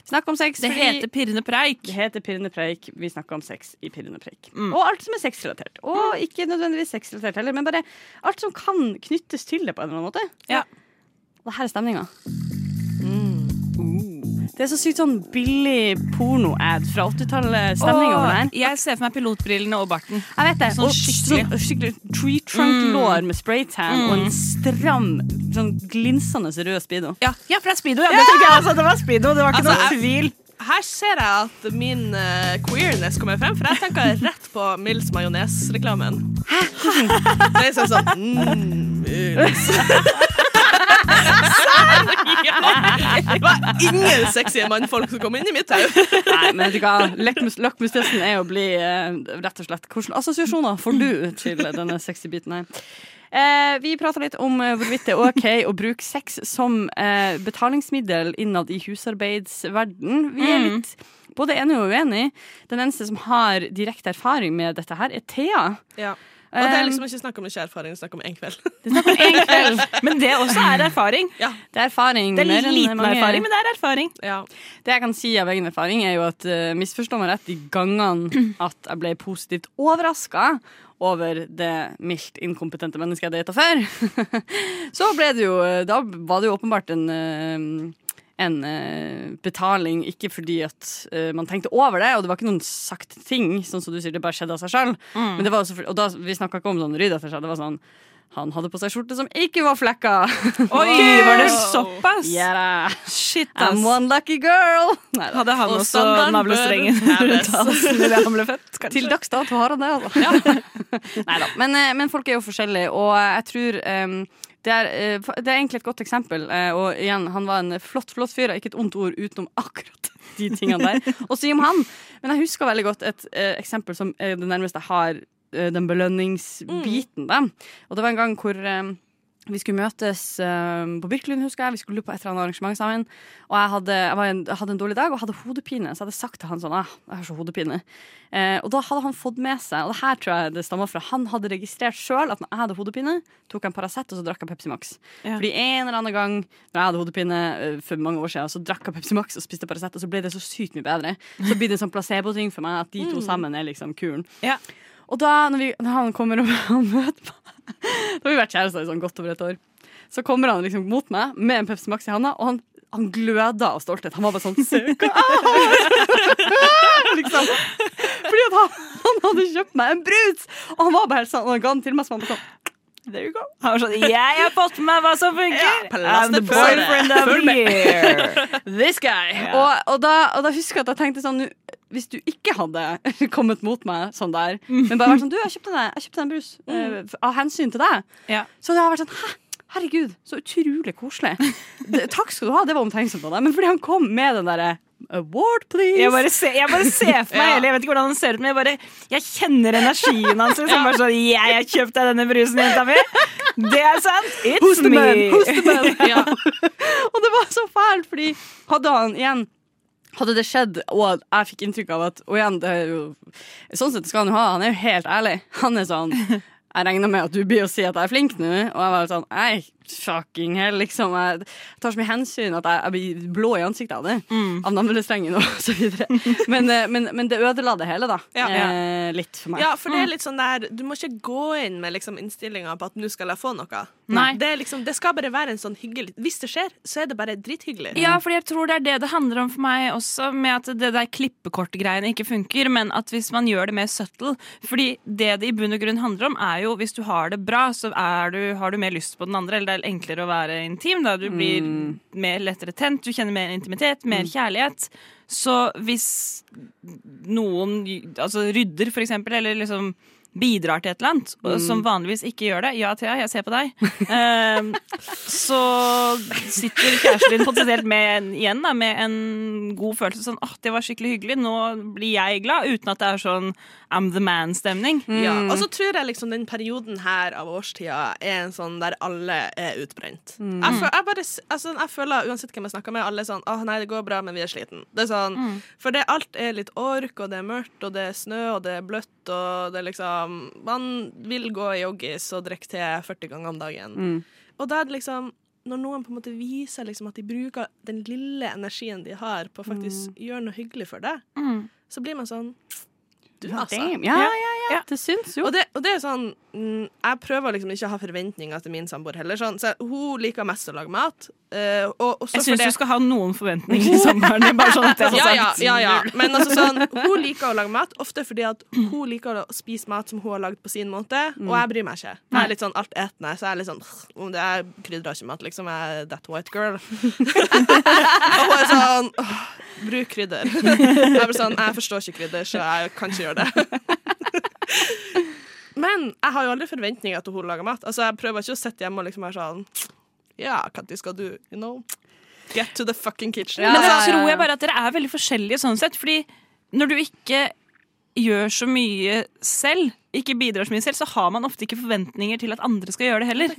Speaker 3: Vi snakker om sex
Speaker 4: Det
Speaker 3: fordi
Speaker 4: heter pirrende preik.
Speaker 3: det heter Pirrende preik. Vi snakker om sex i Pirrende preik.
Speaker 4: Mm.
Speaker 3: Og alt som er sexrelatert. Og ikke nødvendigvis sexrelatert heller, men bare alt som kan knyttes til det på en eller annen måte.
Speaker 4: Ja. Mm.
Speaker 3: Og her er stemninga. Det er så sykt sånn billig porno-ad fra 80-tallet-stemning over det her.
Speaker 4: jeg ser for meg pilotbrillene og barten.
Speaker 3: Jeg vet det.
Speaker 4: Sånn
Speaker 3: og
Speaker 4: skikkelig.
Speaker 3: sånn skikkelig tree
Speaker 8: Mm.
Speaker 3: trunk-lår med spraytan og en stram, sånn glinsende rød speedo.
Speaker 8: Ja, for det er speedo. Ja. Det, tenker jeg, altså, det var speedo, det var ikke
Speaker 6: Altså, jeg-
Speaker 8: noe tvil.
Speaker 6: Her ser jeg at min eh, queerness kommer frem, for jeg tenker rett på Mills majones-reklamen. *laughs* Det er sånn sånn mm, Mills. Sorry! Det var ingen sexy mannfolk som kom inn i mitt hode.
Speaker 3: *laughs* Nei, men vet du hva? Lakmus- Lakmustesten er å bli eh, rett og slett Hvilke assosiasjoner får du
Speaker 8: Mm.
Speaker 3: til denne sexy biten her? Eh, vi prater litt om eh, hvorvidt det er OK å bruke sex som eh, betalingsmiddel innad i husarbeidsverden. Vi
Speaker 8: Mm.
Speaker 3: er litt både enige og uenige. Den eneste som har direkte erfaring med dette her, er Thea.
Speaker 6: Ja. Og det er liksom ikke snakk om ikke erfaring, det er snakk om én kveld.
Speaker 4: Men det også er erfaring.
Speaker 3: Det er erfaring.
Speaker 4: Det er
Speaker 3: mer enn
Speaker 4: liten
Speaker 3: mange-
Speaker 4: erfaring, men det er erfaring.
Speaker 6: *laughs* Ja.
Speaker 3: Det jeg kan si av egen erfaring, er jo at eh, misforstå meg rett de gangene at jeg ble positivt overraska over det mildt inkompetente mennesket jeg data før, *laughs* så ble det jo eh, Da var det jo åpenbart en eh, en eh, betaling, ikke fordi at eh, man tenkte over det, og det var ikke noen sagt ting, sånn som du sier, det bare skjedde av seg sjøl.
Speaker 4: Mm.
Speaker 3: Men det var jo selvfølgelig- Og da, vi snakka ikke om sånn rydd etter seg, det var sånn Han hadde på seg skjorte som ikke var flekka! *laughs*
Speaker 4: Oi, var det såpass?
Speaker 3: yeah, da.
Speaker 4: Shit, ass.
Speaker 3: I'm one lucky girl! *laughs* Neida.
Speaker 4: Hadde han
Speaker 6: Og
Speaker 4: også
Speaker 6: standarden bør
Speaker 4: navlestrengen rundt
Speaker 6: heves.
Speaker 4: halsen idet han ble født, kanskje?
Speaker 3: Til dags dato har han det, altså. *laughs* Neida. Men, eh, men folk er jo forskjellige, og jeg tror em, det er, eh, det er egentlig et godt eksempel. eh, Og igjen, han var en flott, flott fyr. og Ikke et ondt ord utenom *laughs* akkurat de tingene der. Og si om han. Men jeg husker veldig godt et eh, eksempel som er det nærmeste jeg har eh, den belønningsbiten. Da. Og det var en gang hvor em, vi skulle møtes eh, på Birkelund, husker jeg. Vi skulle på et eller annet arrangement sammen. Og jeg hadde, jeg, var en, jeg hadde en dårlig dag og hadde hodepine, så jeg hadde sagt til han sånn ah, jeg har så hodepine. Eh, og da hadde han fått med seg, og det her tror jeg det stammer fra, han hadde registrert sjøl at når jeg hadde hodepine, tok jeg en Paracet og så drakk jeg Pepsi Max. Fordi en eller annen gang når jeg hadde hodepine eh, for mange år siden, så drakk jeg Pepsi Max og spiste Paracet, og så ble det så sykt mye bedre. Så blir det en sånn placebo-ting for meg at de to sammen er liksom kuren.
Speaker 4: Ja.
Speaker 3: Og da, når, vi, når han kommer og *laughs* han møter meg Da har vi vært kjærester i sånn godt over et år. Så kommer han liksom mot meg med en Pepsi Max i handa, og han, han gløda av stolthet. Han var bare sånn Se hva jeg har!» liksom. Fordi at han, han hadde kjøpt meg en brus! Og han var bare helt sånn, og han ga den til meg som han var sånn
Speaker 4: There you go. Han var sånn Jeg har fått med meg hva som funker! I'm the
Speaker 6: plastikk for det.
Speaker 4: boyfriend of the year.
Speaker 3: This guy! Og, og, da, og da husker jeg at jeg tenkte sånn «Nu, Hvis du ikke hadde *laughs* kommet mot meg sånn der, men bare vært sånn Du, jeg kjøpte den, jeg kjøpte den brus eh, f- av hensyn til deg.
Speaker 4: Ja.
Speaker 3: Så det har vært sånn Hæ? Herregud, så utrolig *laughs* koselig. Det, takk skal du ha, det var omtenksomt av deg. Men fordi han kom med den derre Award, please!
Speaker 4: Jeg bare, ser, jeg bare ser for meg hele Jeg vet ikke hvordan han ser ut, men jeg bare Jeg kjenner energien hans. Liksom. Bare sånn, jeg har kjøpt deg denne brusen, jenta mi. Det er sant. It's
Speaker 3: Hoste
Speaker 4: me.
Speaker 3: menn, hoste menn. Og det var så fælt, fordi hadde han igjen hadde det skjedd, og jeg fikk inntrykk av at Og igjen, det er jo Sånn sett skal han jo ha, han er jo helt ærlig. Han er sånn Jeg regner med at du blir å si at jeg er flink nå, og jeg var sånn Nei, fucking hell, liksom. Jeg tar så mye hensyn at jeg, jeg blir blå i ansiktet av det.
Speaker 6: Mm.
Speaker 3: Av navlestrengen og så videre. Men, eh, men, men det ødela det hele, da.
Speaker 6: Ja.
Speaker 3: Eh, litt for meg.
Speaker 6: Ja, for det er litt sånn der Du må ikke gå inn med liksom innstillinga på at nå skal jeg få noe.
Speaker 4: Nei.
Speaker 6: Det, er liksom, det skal bare være en sånn hyggelig Hvis det skjer, så er det bare drithyggelig.
Speaker 4: Ja, fordi jeg tror det er det det handler om for meg også, med at det der klippekortgreiene ikke funker, men at hvis man gjør det mer subtle Fordi det det i bunn og grunn handler om, er jo hvis du har det bra, så er du, har du mer lyst på den andre, eller det er enklere å være intim, da. Du blir mer lettere tent, du kjenner mer intimitet, mer kjærlighet. Så hvis noen altså rydder, for eksempel, eller liksom bidrar til et eller annet, og
Speaker 3: Mm.
Speaker 4: som vanligvis ikke gjør det Ja, Thea, jeg ser på deg. Ehm, så sitter kjæresten din potensielt med en, igjen da, med en god følelse. Sånn, åh, det var skikkelig hyggelig, nå blir jeg glad. Uten at det er sånn I'm the man-stemning.
Speaker 3: Mm.
Speaker 6: Ja, og så tror jeg liksom den perioden her av årstida er en sånn der alle er utbrent. Jeg, føl, jeg, bare, s- altså, jeg føler uansett hvem jeg snakker med, alle er sånn åh nei, det går bra, men vi er sliten. Det er sånn, For det, alt er litt ork, og det er mørkt, og det er snø, og det er bløtt, og det er liksom Man vil gå i joggis og drikke te 40 ganger om dagen. Og da er det liksom når noen på en måte viser liksom at de bruker den lille energien de har på å faktisk gjøre noe hyggelig for deg, så blir man sånn Du, altså.
Speaker 3: Damn. Ja, ja, ja, Det syns jo. *laughs*
Speaker 6: Og det, og det er sånn mm, Jeg prøver liksom ikke å ha forventninger til min samboer heller. Sånn. Så hun liker mest å lage mat. eh, og, og så
Speaker 4: Jeg
Speaker 6: for
Speaker 4: syns
Speaker 6: det-
Speaker 4: du skal ha noen forventninger til sommeren. det er Bare sånn at jeg får
Speaker 6: ja, ja,
Speaker 4: sagt.
Speaker 6: ja, ja. Men altså sånn, hun liker å lage mat, ofte fordi at hun liker å spise mat som hun har lagd på sin måte, og
Speaker 4: Mm.
Speaker 6: jeg bryr meg ikke. Jeg er litt sånn altetende, så jeg er litt sånn «Åh, om det er krydrer ikke mat, liksom. Jeg er that
Speaker 4: *laughs*
Speaker 6: white girl. og hun er sånn «Åh, bruk krydder. Jeg blir sånn, jeg forstår ikke krydder, så jeg kan ikke gjøre det. Men jeg har jo aldri forventninger til at hun lager mat. Altså, Jeg prøver ikke å sitte hjemme og liksom være sånn Ja, når skal du You know? Get to the fucking kitchen.
Speaker 3: Ja, ja,
Speaker 4: Men da
Speaker 3: ja, ja.
Speaker 4: tror jeg bare at dere er veldig forskjellige sånn sett. Fordi når du ikke gjør så mye selv, ikke bidrar så mye selv, så har man ofte ikke forventninger til at andre skal gjøre det heller.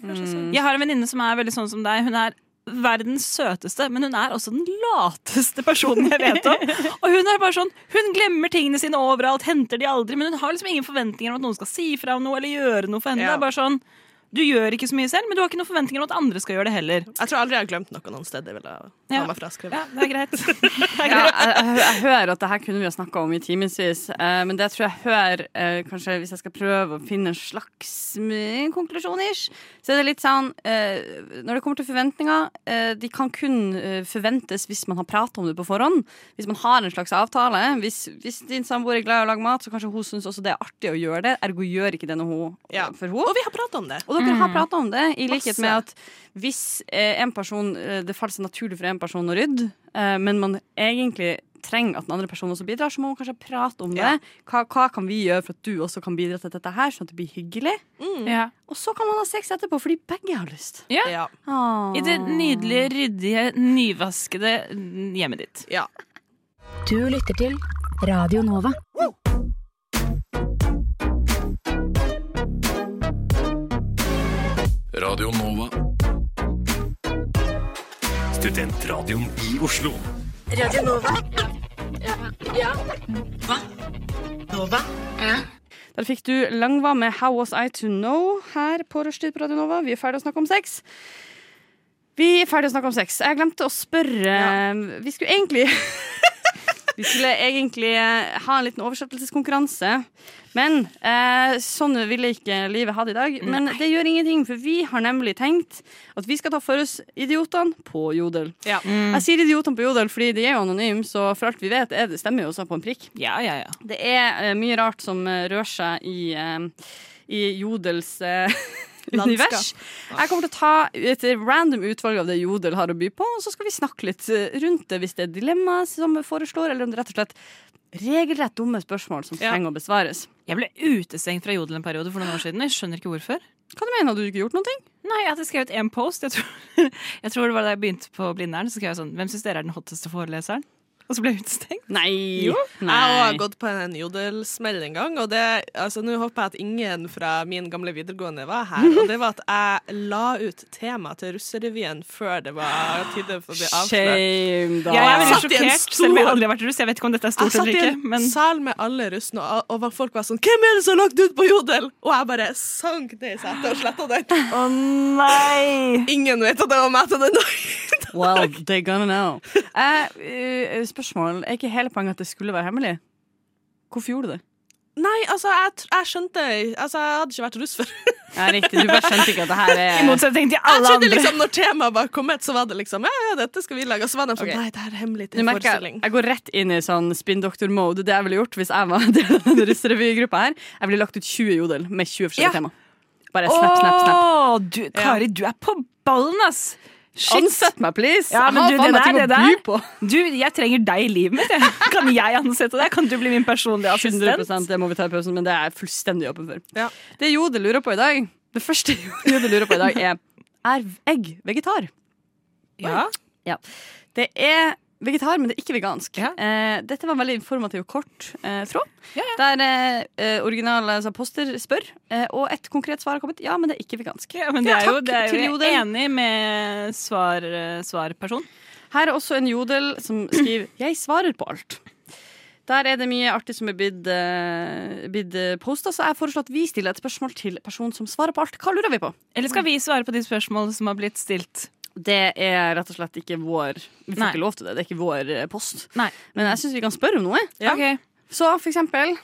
Speaker 4: Jeg har en venninne som er veldig sånn som deg. Hun er verdens søteste, men hun er også den lateste personen jeg vet *laughs* om. Og hun er bare sånn, hun glemmer tingene sine overalt, henter de aldri, men hun har liksom ingen forventninger om at noen skal si fra om noe eller gjøre noe for henne.
Speaker 6: Ja.
Speaker 4: Det er bare sånn, du gjør ikke så mye selv, men du har ikke noen forventninger om at andre skal gjøre det heller.
Speaker 6: Jeg tror aldri jeg har glemt noe noen sted. Det vil jeg ha
Speaker 4: Ja.
Speaker 6: meg fraskrevet.
Speaker 4: Ja, det er greit. *laughs*
Speaker 3: Ja, jeg, jeg, jeg hører at det her kunne vi ha snakka om i timevis, eh, men det tror jeg hører eh, Kanskje hvis jeg skal prøve å finne en slags mm, konklusjon, ish, så er det litt sånn eh, Når det kommer til forventninger, eh, de kan kun eh, forventes hvis man har prata om det på forhånd. Hvis man har en slags avtale. Hvis, hvis din samboer er glad i å lage mat, så kanskje hun syns også det er artig å gjøre det, ergo gjør ikke det noe hun, eh,
Speaker 6: Ja.
Speaker 3: for henne.
Speaker 6: Og vi har prata om det.
Speaker 3: Og dere har prata om det, i likhet
Speaker 6: Mm. Masse.
Speaker 3: med at hvis eh, en person, eh, det faller seg naturlig for en person å rydde, eh, men man egentlig trenger at den andre personen også bidrar, så må man kanskje prate om
Speaker 6: Ja.
Speaker 3: det. Hva, hva kan vi gjøre for at du også kan bidra til dette her, sånn at det blir hyggelig?
Speaker 4: Ja.
Speaker 3: Og så kan man ha sex etterpå, fordi begge har lyst.
Speaker 4: Ja.
Speaker 6: Ja.
Speaker 4: I det nydelige, ryddige, nyvaskede hjemmet ditt.
Speaker 6: ja.
Speaker 7: Du lytter til Radio Nova.
Speaker 5: Radio Nova. Studentradioen i Oslo.
Speaker 3: Der fikk du Langva med 'How Was I To Know' her på Rushtid på Radio Nova. Vi er ferdig å snakke om sex. Vi er ferdig å snakke om sex. Jeg glemte å spørre um, Vi skulle egentlig *laughs* Vi skulle egentlig eh, ha en liten oversettelseskonkurranse. Men eh, sånn ville ikke livet ha det i dag. Men det gjør ingenting, for vi har nemlig tenkt at vi skal ta for oss idiotene på Jodel.
Speaker 6: Ja.
Speaker 4: Mm,
Speaker 3: Jeg sier idiotene på Jodel fordi de er jo anonyme, så for alt vi vet, er det stemmer jo også på en prikk.
Speaker 4: Ja, ja, ja.
Speaker 3: Det er eh, mye rart som eh, rører seg i, eh, i Jodels eh, *laughs* univers. Jeg kommer til å ta et random utvalg av det Jodel har å by på, og så skal vi snakke litt eh, rundt det hvis det er dilemma som foreslår, eller om det rett og slett regelrett dumme spørsmål som
Speaker 6: Ja.
Speaker 3: trenger å besvares.
Speaker 4: Jeg ble utestengt fra Jodel en periode for noen år siden. Jeg skjønner ikke hvorfor.
Speaker 3: Hva du mener du? Har ikke gjort noe?
Speaker 4: Nei, Jeg hadde skrevet én *laughs* post. Jeg tror, jeg tror det var da jeg begynte på Blindern. Så skrev jeg sånn Hvem syns dere er den hotteste foreleseren? og så ble jeg utestengt.
Speaker 3: Nei.
Speaker 6: Jo. Jeg har
Speaker 3: Nei.
Speaker 6: gått på en jodelsmell en gang, og det, altså, nå håper jeg at ingen fra min gamle videregående var her. Og det var at jeg la ut tema til russerevyen før det var tide for å bli avslørt.
Speaker 3: Shame, da.
Speaker 4: Jeg er veldig
Speaker 6: satt i en
Speaker 4: sjokkert,
Speaker 6: stol.
Speaker 4: selv om jeg aldri har vært russ. Jeg vet ikke om dette er
Speaker 6: Jeg
Speaker 4: stort
Speaker 6: satt
Speaker 4: eller
Speaker 6: i
Speaker 4: ikke,
Speaker 6: en
Speaker 4: men
Speaker 6: sal med alle russene, og, og folk var sånn 'Hvem er det som har lagt ut på Jodel?' Og jeg bare sank ned i setet og sletta den.
Speaker 8: Å nei!
Speaker 6: Ingen vet at det var meg til den
Speaker 4: *laughs*
Speaker 6: dagen.
Speaker 3: *laughs* Well, they're gonna know. Eh, eh, spørsmål. Er ikke hele poenget at det skulle være hemmelig? Hvorfor gjorde du det?
Speaker 6: Nei, altså, jeg, tr- jeg skjønte Altså, jeg hadde ikke vært russ før.
Speaker 3: Ja, riktig. Du bare skjønte ikke at det her
Speaker 4: i
Speaker 3: er
Speaker 4: motsetning til
Speaker 6: Jeg
Speaker 4: alle
Speaker 6: trodde
Speaker 4: andre.
Speaker 6: liksom Når temaet var kommet, så var det liksom Ja, ja, dette skal vi lage. Og så var de sånn
Speaker 3: Ok.
Speaker 6: Nei, det her er hemmelig
Speaker 3: du
Speaker 6: til
Speaker 3: merker,
Speaker 6: forestilling.
Speaker 3: jeg- jeg går rett inn i sånn spinndoktor-mode. Det jeg ville gjort hvis jeg var *laughs* del av den russerevygruppa her. Jeg ville lagt ut 20 jodel med 20 forskjellige
Speaker 8: Ja.
Speaker 3: tema. Bare snap, snap, snap.
Speaker 8: Å, du, Kari, du er på ballen, ass! Shit.
Speaker 3: Ansett meg, please!
Speaker 8: Ja, men du,
Speaker 3: jeg har faen
Speaker 8: det
Speaker 3: meg
Speaker 8: der,
Speaker 3: ting
Speaker 8: det
Speaker 3: å by
Speaker 8: der
Speaker 3: på.
Speaker 8: Du, jeg trenger deg i livet mitt. jeg. Kan jeg ansette deg? Kan du bli min personlige assistent?
Speaker 3: 100 det må vi ta i pausen, men det er jeg fullstendig åpen for.
Speaker 6: Ja.
Speaker 3: Det Jode lurer på i dag, det første *laughs* Jode lurer på i dag, er er egg vegetar.
Speaker 8: Ja.
Speaker 3: Ja. Det er vegetar, men det er ikke vegansk. Eh, dette var en veldig informativ og kort eh, tråd, der eh, eh, originale altså, poster spør, eh, og et konkret svar har kommet. Ja, men det er ikke vegansk.
Speaker 4: Ja, men det er jo,
Speaker 3: Takk
Speaker 4: det er
Speaker 3: til
Speaker 4: jo jeg er
Speaker 3: Jodel.
Speaker 4: enig med svar, eh, svarperson.
Speaker 3: Her er også en jodel som skriver *clears throat* 'Jeg svarer på alt'. Der er det mye artig som er blitt, eh, blitt eh, postet, så jeg foreslår at vi stiller et spørsmål til personen som svarer på alt. Hva lurer vi på?
Speaker 4: Eller skal vi svare på de spørsmål som har blitt stilt?
Speaker 3: Det er rett og slett ikke vår Vi får
Speaker 4: Nei.
Speaker 3: ikke lov til det. Det er ikke vår eh, post.
Speaker 4: Nei.
Speaker 3: Men jeg syns vi kan spørre om noe.
Speaker 4: Ok.
Speaker 3: Så for eksempel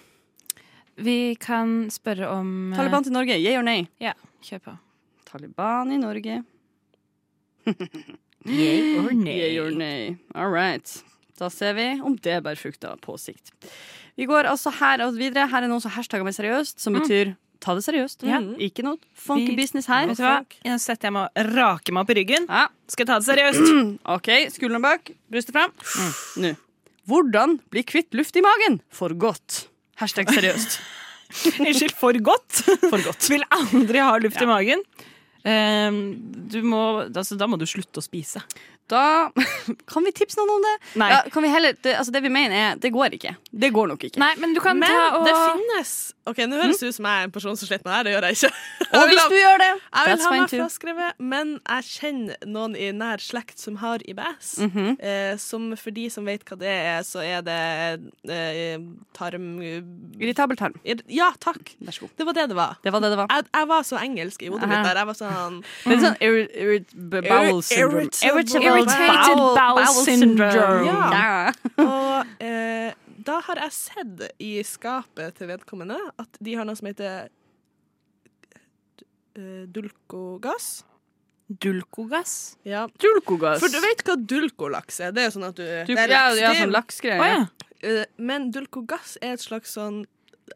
Speaker 4: Vi kan spørre om eh,
Speaker 3: Taliban til Norge. Yeah or nay?
Speaker 4: Ja, kjør på.
Speaker 3: Taliban i Norge.
Speaker 4: *laughs* Yay or
Speaker 3: Yeah or nay. All right. Da ser vi om det bærer frukter på sikt. Vi går altså her og videre. Her er noen som hashtagger meg seriøst, som betyr ta det seriøst.
Speaker 4: Mm. Ja.
Speaker 3: Ikke noe funky
Speaker 4: Vi-
Speaker 3: business her.
Speaker 4: Vet du hva? Nå setter jeg meg og raker meg opp i ryggen.
Speaker 3: Ja,
Speaker 4: Skal jeg ta det
Speaker 6: *laughs*
Speaker 4: seriøst?
Speaker 3: OK, skuldrene bak, brystet fram.
Speaker 4: Mm.
Speaker 3: Nå. Hvordan bli kvitt luft i magen for godt? Hashtag
Speaker 4: *laughs*
Speaker 3: seriøst.
Speaker 4: Unnskyld, for godt.
Speaker 3: For godt.
Speaker 4: *laughs* Vil aldri ha luft i magen. Ehm, du må, altså, da må du slutte å spise.
Speaker 3: Da *laughs* kan vi tipse noen om det.
Speaker 4: Nei.
Speaker 3: Ja, kan vi heller, det, altså det vi mener er det går ikke. Det går nok ikke.
Speaker 4: Nei, men du kan
Speaker 6: Men
Speaker 4: ta og
Speaker 6: det finnes OK, nå
Speaker 4: Mm.
Speaker 6: høres det ut som jeg er en person som sliter med det her. Det gjør jeg ikke. *laughs*
Speaker 3: Og
Speaker 6: Jeg vil
Speaker 3: hvis
Speaker 6: ha,
Speaker 3: du gjør det,
Speaker 6: jeg vil
Speaker 3: that's
Speaker 6: ha
Speaker 3: fine
Speaker 6: meg
Speaker 3: too.
Speaker 6: fraskrevet, men jeg kjenner noen i nær slekt som har IBS.
Speaker 4: Mhm.
Speaker 6: eh, som for de som vet hva det er, så er det eh, tarm...
Speaker 3: Irritabel tarm.
Speaker 6: ir- Ja, takk.
Speaker 3: Vær så god.
Speaker 6: Det var det det var.
Speaker 3: Det var det det var.
Speaker 6: Jeg, jeg var så engelsk i hodet mitt der. Jeg var sånn
Speaker 3: Det er sånn irri- irri- *laughs* bowel syndrome.
Speaker 6: irritable
Speaker 4: Irritated bowel syndrome.
Speaker 3: Ja.
Speaker 6: Ja. Og eh, da har jeg sett i skapet til vedkommende at de har noe som heter eh, dulkogass.
Speaker 4: Dulkogass.
Speaker 6: Ja.
Speaker 3: Dulkogass.
Speaker 6: For du vet hva dulkolaks er? Det er sånn at du,
Speaker 3: Du,
Speaker 6: det er
Speaker 3: ja,
Speaker 6: laks.
Speaker 3: ja,
Speaker 6: Det er-
Speaker 3: sånn laksgreier.
Speaker 4: Å ja.
Speaker 6: eh, men dulkogass er et slags sånn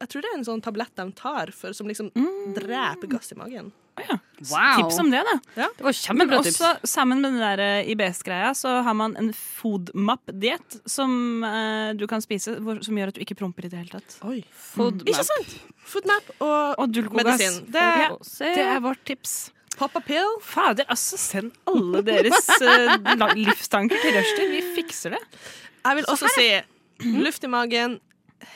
Speaker 6: Jeg tror det er en sånn tablett de tar for, som liksom dreper gass i magen.
Speaker 3: Wow.
Speaker 4: Tips om det, da.
Speaker 3: Det var
Speaker 4: Men
Speaker 3: kjempebra tips.
Speaker 4: også sammen med den der eh, IBS-greia så har man en foodmap-diet som eh, du kan spise, hvor, som gjør at du ikke promper i det hele tatt.
Speaker 6: Oi.
Speaker 3: Food
Speaker 6: Ikke sant? Foodmap og,
Speaker 4: Og dulkogass.
Speaker 6: medisin. Det er
Speaker 4: Ja, det er vårt tips.
Speaker 6: Papa Pill.
Speaker 4: Fader, altså, send alle deres eh, la- livstanker til Rushdie. Vi fikser det.
Speaker 6: Jeg vil også si
Speaker 4: Mm.
Speaker 6: luft i magen.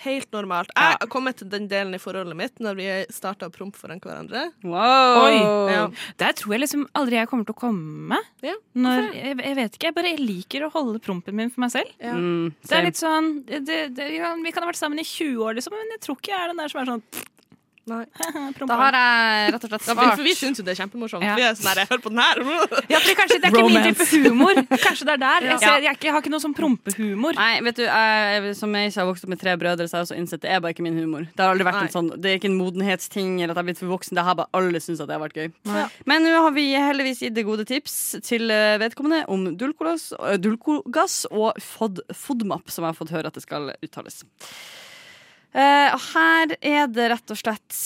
Speaker 6: Helt normalt. Jeg har kommet til den delen i forholdet mitt når vi starta å prompe foran hverandre.
Speaker 3: Wow.
Speaker 4: Oi.
Speaker 6: Ja.
Speaker 4: Der tror jeg liksom aldri jeg kommer til å komme.
Speaker 6: Ja,
Speaker 4: Når, jeg, jeg vet ikke, jeg bare liker å holde prompen min for meg selv.
Speaker 3: Mm,
Speaker 4: Det er
Speaker 3: same.
Speaker 4: litt sånn det, det, ja, Vi kan ha vært sammen i 20 år, liksom, men jeg tror ikke jeg er den der som er sånn *laughs*
Speaker 6: Nei.
Speaker 4: prompa.
Speaker 3: Da har jeg rett og slett svart.
Speaker 6: For vi syns jo det er kjempemorsomt.
Speaker 4: Ja.
Speaker 6: Vi er sånn her, hør på den
Speaker 4: *laughs*
Speaker 6: her!
Speaker 4: Ja, fordi kanskje det er ikke min
Speaker 3: Romance.
Speaker 4: type humor. Kanskje det er der. Jeg,
Speaker 3: Ja.
Speaker 4: ser, jeg, er ikke, jeg har ikke noe sånn prompehumor.
Speaker 3: Nei, vet du, jeg, som jeg ikke har vokst opp med tre brødre, så har jeg også innsett det er bare ikke min humor. Det har aldri vært en
Speaker 6: Nei.
Speaker 3: sånn, det er ikke en modenhetsting eller at jeg har blitt for voksen. Det har bare alle syntes at det har vært gøy.
Speaker 6: Nei.
Speaker 3: Men nå har vi heldigvis gitt det gode tips til eh, vedkommende om dulkolos, eh, dulkogass og fod, FODMAP, som jeg har fått høre at det skal uttales. Eh, og her er det rett og slett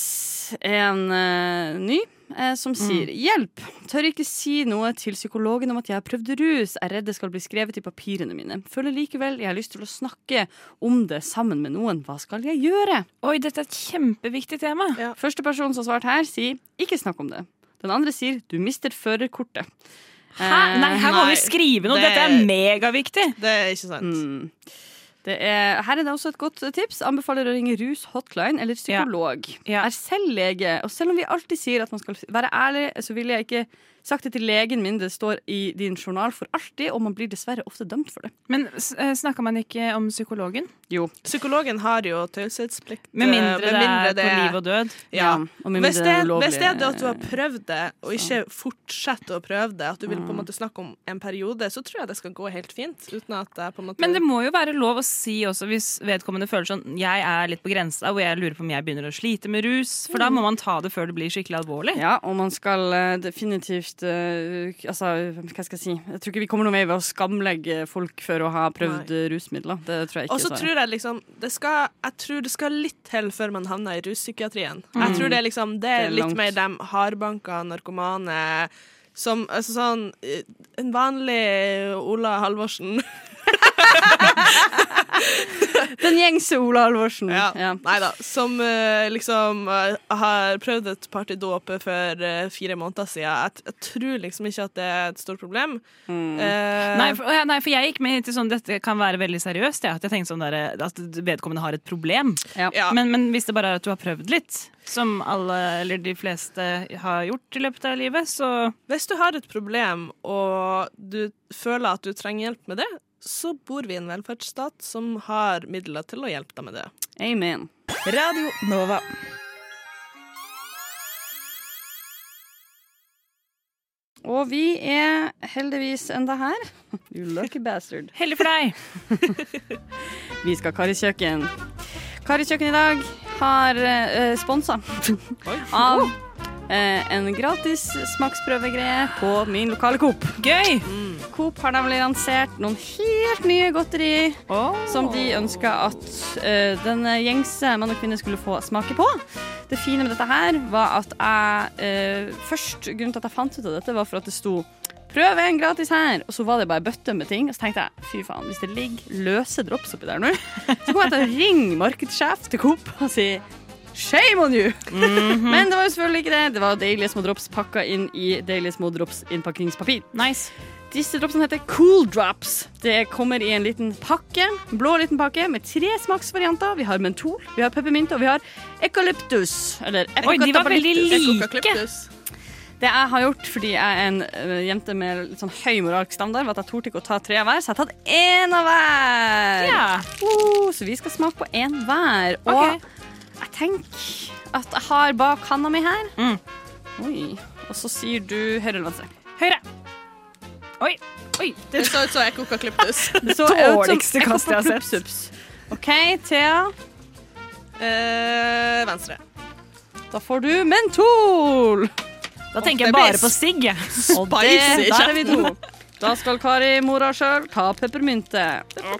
Speaker 3: en eh, ny eh, som sier hjelp. Tør ikke si noe til psykologen om at jeg har prøvd rus. Er redd det skal bli skrevet i papirene mine. Føler likevel jeg har lyst til å snakke om det sammen med noen. Hva skal jeg gjøre?
Speaker 4: Oi, dette er et kjempeviktig tema.
Speaker 3: Første person som har svart her, sier ikke snakk om det. Den andre sier du mister førerkortet.
Speaker 4: Hæ? Nei, her må
Speaker 6: Nei,
Speaker 4: vi skrive noe.
Speaker 6: det-
Speaker 4: Dette er megaviktig.
Speaker 6: Det er ikke sant.
Speaker 3: Mm. Det er, her er det også et godt tips. Anbefaler å ringe rus hotline eller psykolog.
Speaker 4: Ja.
Speaker 3: Jeg er selv lege, og selv om vi alltid sier at man skal være ærlig, så ville jeg ikke sagt det til legen min. Det står i din journal for alltid, og man blir dessverre ofte dømt for det.
Speaker 4: Men snakka man ikke om psykologen?
Speaker 3: Jo.
Speaker 6: Psykologen har jo taushetsplikt.
Speaker 4: Med mindre,
Speaker 6: eh, med mindre
Speaker 4: det er på liv og død.
Speaker 6: ja.
Speaker 3: og med
Speaker 6: Hvis
Speaker 3: mindre
Speaker 6: det,
Speaker 3: er ulovlig-
Speaker 6: hvis det er det at du har prøvd det, og ikke fortsetter å prøve det, at du vil på en
Speaker 4: Mm.
Speaker 6: måte snakke om en periode, så tror jeg det skal gå helt fint. Uten at det på en måte
Speaker 4: Men det må jo være lov å si også hvis vedkommende føler sånn Jeg er litt på grensa, og jeg lurer på om jeg begynner å slite med rus. For da må man ta det før det blir skikkelig alvorlig.
Speaker 3: Ja, og man skal eh, definitivt eh, Altså, hva skal jeg si? Jeg tror ikke vi kommer noen vei ved å skamlegge folk for å ha prøvd eh, rusmidler. Det tror jeg ikke. altså.
Speaker 6: Og så
Speaker 3: Sara.
Speaker 6: tror jeg liksom det skal, Jeg tror det skal litt til før man havner i ruspsykiatrien. Jeg tror det er liksom Det
Speaker 3: Det
Speaker 6: er
Speaker 3: er langt.
Speaker 6: litt mer dem hardbanka narkomane som altså sånn eh, En vanlig eh, Ola Halvorsen.
Speaker 3: Den gjengse Ola Halvorsen.
Speaker 6: *laughs* Ja.
Speaker 3: Mm, Ja.
Speaker 6: Nei da. Som eh, liksom eh, har prøvd et party dåpe for eh, fire måneder siden. Jeg, jeg tror liksom ikke at det er et stort problem. Eh,
Speaker 4: Nei for, å ja, nei, for jeg gikk med til sånn dette kan være veldig seriøst. Ja. At jeg tenkte sånn der, at vedkommende har et problem.
Speaker 6: ja.
Speaker 4: Men, men hvis det bare er at du har prøvd litt, som alle eller de fleste har gjort i løpet av livet, så
Speaker 6: Hvis du har et problem og du føler at du trenger hjelp med det, så bor vi i en velferdsstat som har midler til å hjelpe deg med det.
Speaker 3: Amen.
Speaker 8: Radio Nova.
Speaker 3: Og vi er heldigvis enda her. *laughs* You lucky bastard.
Speaker 4: heldig for deg.
Speaker 3: Vi skal Kari Kjøkken. Kari Kjøkken i dag har uh, sponsa *laughs* av eh, en gratis smaksprøvegreie på min lokale Coop. Mm.
Speaker 4: Gøy!
Speaker 3: Coop har nemlig lansert noen helt nye godteri som de ønska at eh, den gjengse mann og kvinne skulle få smake på. Det fine med dette her var at jeg eh, først Grunnen til at jeg fant ut av dette, var for at det sto Prøv en gratis her! Og så var det bare bøtte med ting. Og så tenkte jeg fy faen, hvis det ligger løse drops oppi der nå, så kommer jeg til å ringe markedssjef til Coop og si Shame on you! Men det var jo selvfølgelig ikke det. Det var deilige små drops pakka inn i deilige små drops innpakningspapir.
Speaker 4: Nice.
Speaker 3: Disse dropsene heter Cool Drops. Det kommer i en liten pakke, en blå liten pakke med tre smaksvarianter. Vi har mentol, vi har peppermynte, og vi har eukalyptus. Eller
Speaker 4: Oi, de var veldig like.
Speaker 6: Kokaklyptus.
Speaker 3: Det jeg har gjort fordi jeg er en ø, jente med litt sånn høy moralsk standard, var at jeg torde ikke å ta tre av hver, så jeg har tatt én av hver.
Speaker 4: Ja.
Speaker 3: Oh, så vi skal smake på én hver. Og
Speaker 4: Ok.
Speaker 3: jeg tenker at jeg har bak handa mi her.
Speaker 4: Mm.
Speaker 3: Oi. Og så sier du høyre eller venstre.
Speaker 4: Høyre. Oi. Oi. Det,
Speaker 6: Det så ut som jeg koka klyptus.
Speaker 3: Det så ut som
Speaker 4: Dårligste kastet jeg har sett.
Speaker 3: Ekopopluppsups. OK, Thea.
Speaker 6: *laughs* Eh, venstre.
Speaker 3: Da får du mentol!
Speaker 4: da tenker jeg bare på sigg. jeg.
Speaker 3: Og det,
Speaker 6: Spicy
Speaker 3: der er vi to. Da skal Kari, mora sjøl, ta peppermynte.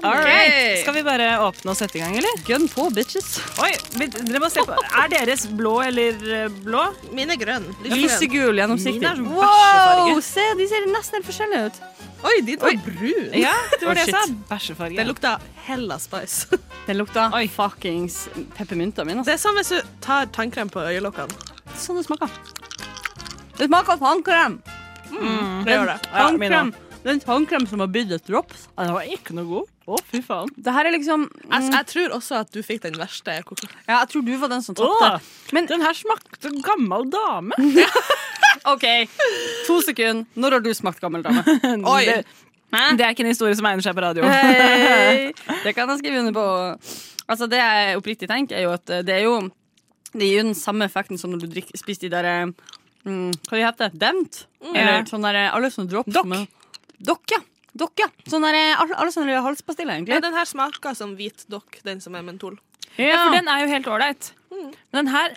Speaker 4: Alright. Skal vi bare åpne og sette i gang, eller?
Speaker 3: Gun på, bitches.
Speaker 4: Oi, vi- dere må se på. Er deres blå eller eh, blå?
Speaker 6: Min er grønn.
Speaker 3: Lysegul, gjennomsiktig.
Speaker 4: Min er sånn
Speaker 3: Wow,
Speaker 4: bæsjefarge.
Speaker 3: se, de ser nesten helt forskjellige ut.
Speaker 6: Oi, de to er brune.
Speaker 4: Ja, det var
Speaker 3: Å,
Speaker 4: det jeg sa.
Speaker 3: shit.
Speaker 4: Bæsjefarge.
Speaker 6: Det lukta hella *laughs* spice.
Speaker 3: Den lukta fuckings peppermynta altså. mi.
Speaker 6: Det er som hvis du tar tannkrem på øyelokkene.
Speaker 3: Sånn det smaker. Det smaker tannkrem. Mm,
Speaker 6: Det gjør det.
Speaker 4: Ja, min
Speaker 3: Tannkrem. Den tannkrem som har bydd et drops.
Speaker 4: Ja, den var ikke noe god. Å, fy faen.
Speaker 3: Det her er liksom
Speaker 6: Jeg, jeg tror også at du fikk den verste. koka-
Speaker 3: Ja, jeg tror du var den som
Speaker 4: Åh,
Speaker 3: tapte. Men
Speaker 4: den her smakte gammel dame.
Speaker 3: OK, to sekunder. Når har du smakt gammel dame?
Speaker 6: Oi.
Speaker 4: Det, det er ikke en historie som egner seg på radio.
Speaker 3: Eh, Hei! Det kan jeg skrive under på. Altså, det jeg oppriktig tenker, er jo at eh, det er jo Det gir jo den samme effekten som når du drikker, spiser de der eh, mm, Hva de heter de? Demt? Eller sånn der eh, Alle sånne drops
Speaker 4: Dokk.
Speaker 3: med- Dokk, ja. Dokk, ja. Sånn der, eh, alle, alle sånne halspastiller,
Speaker 6: Ja,
Speaker 3: egentlig.
Speaker 6: den her smaker som hvit dokk, den som er mentol.
Speaker 3: Ja. Mm.
Speaker 4: For den er jo helt ålreit. Men den her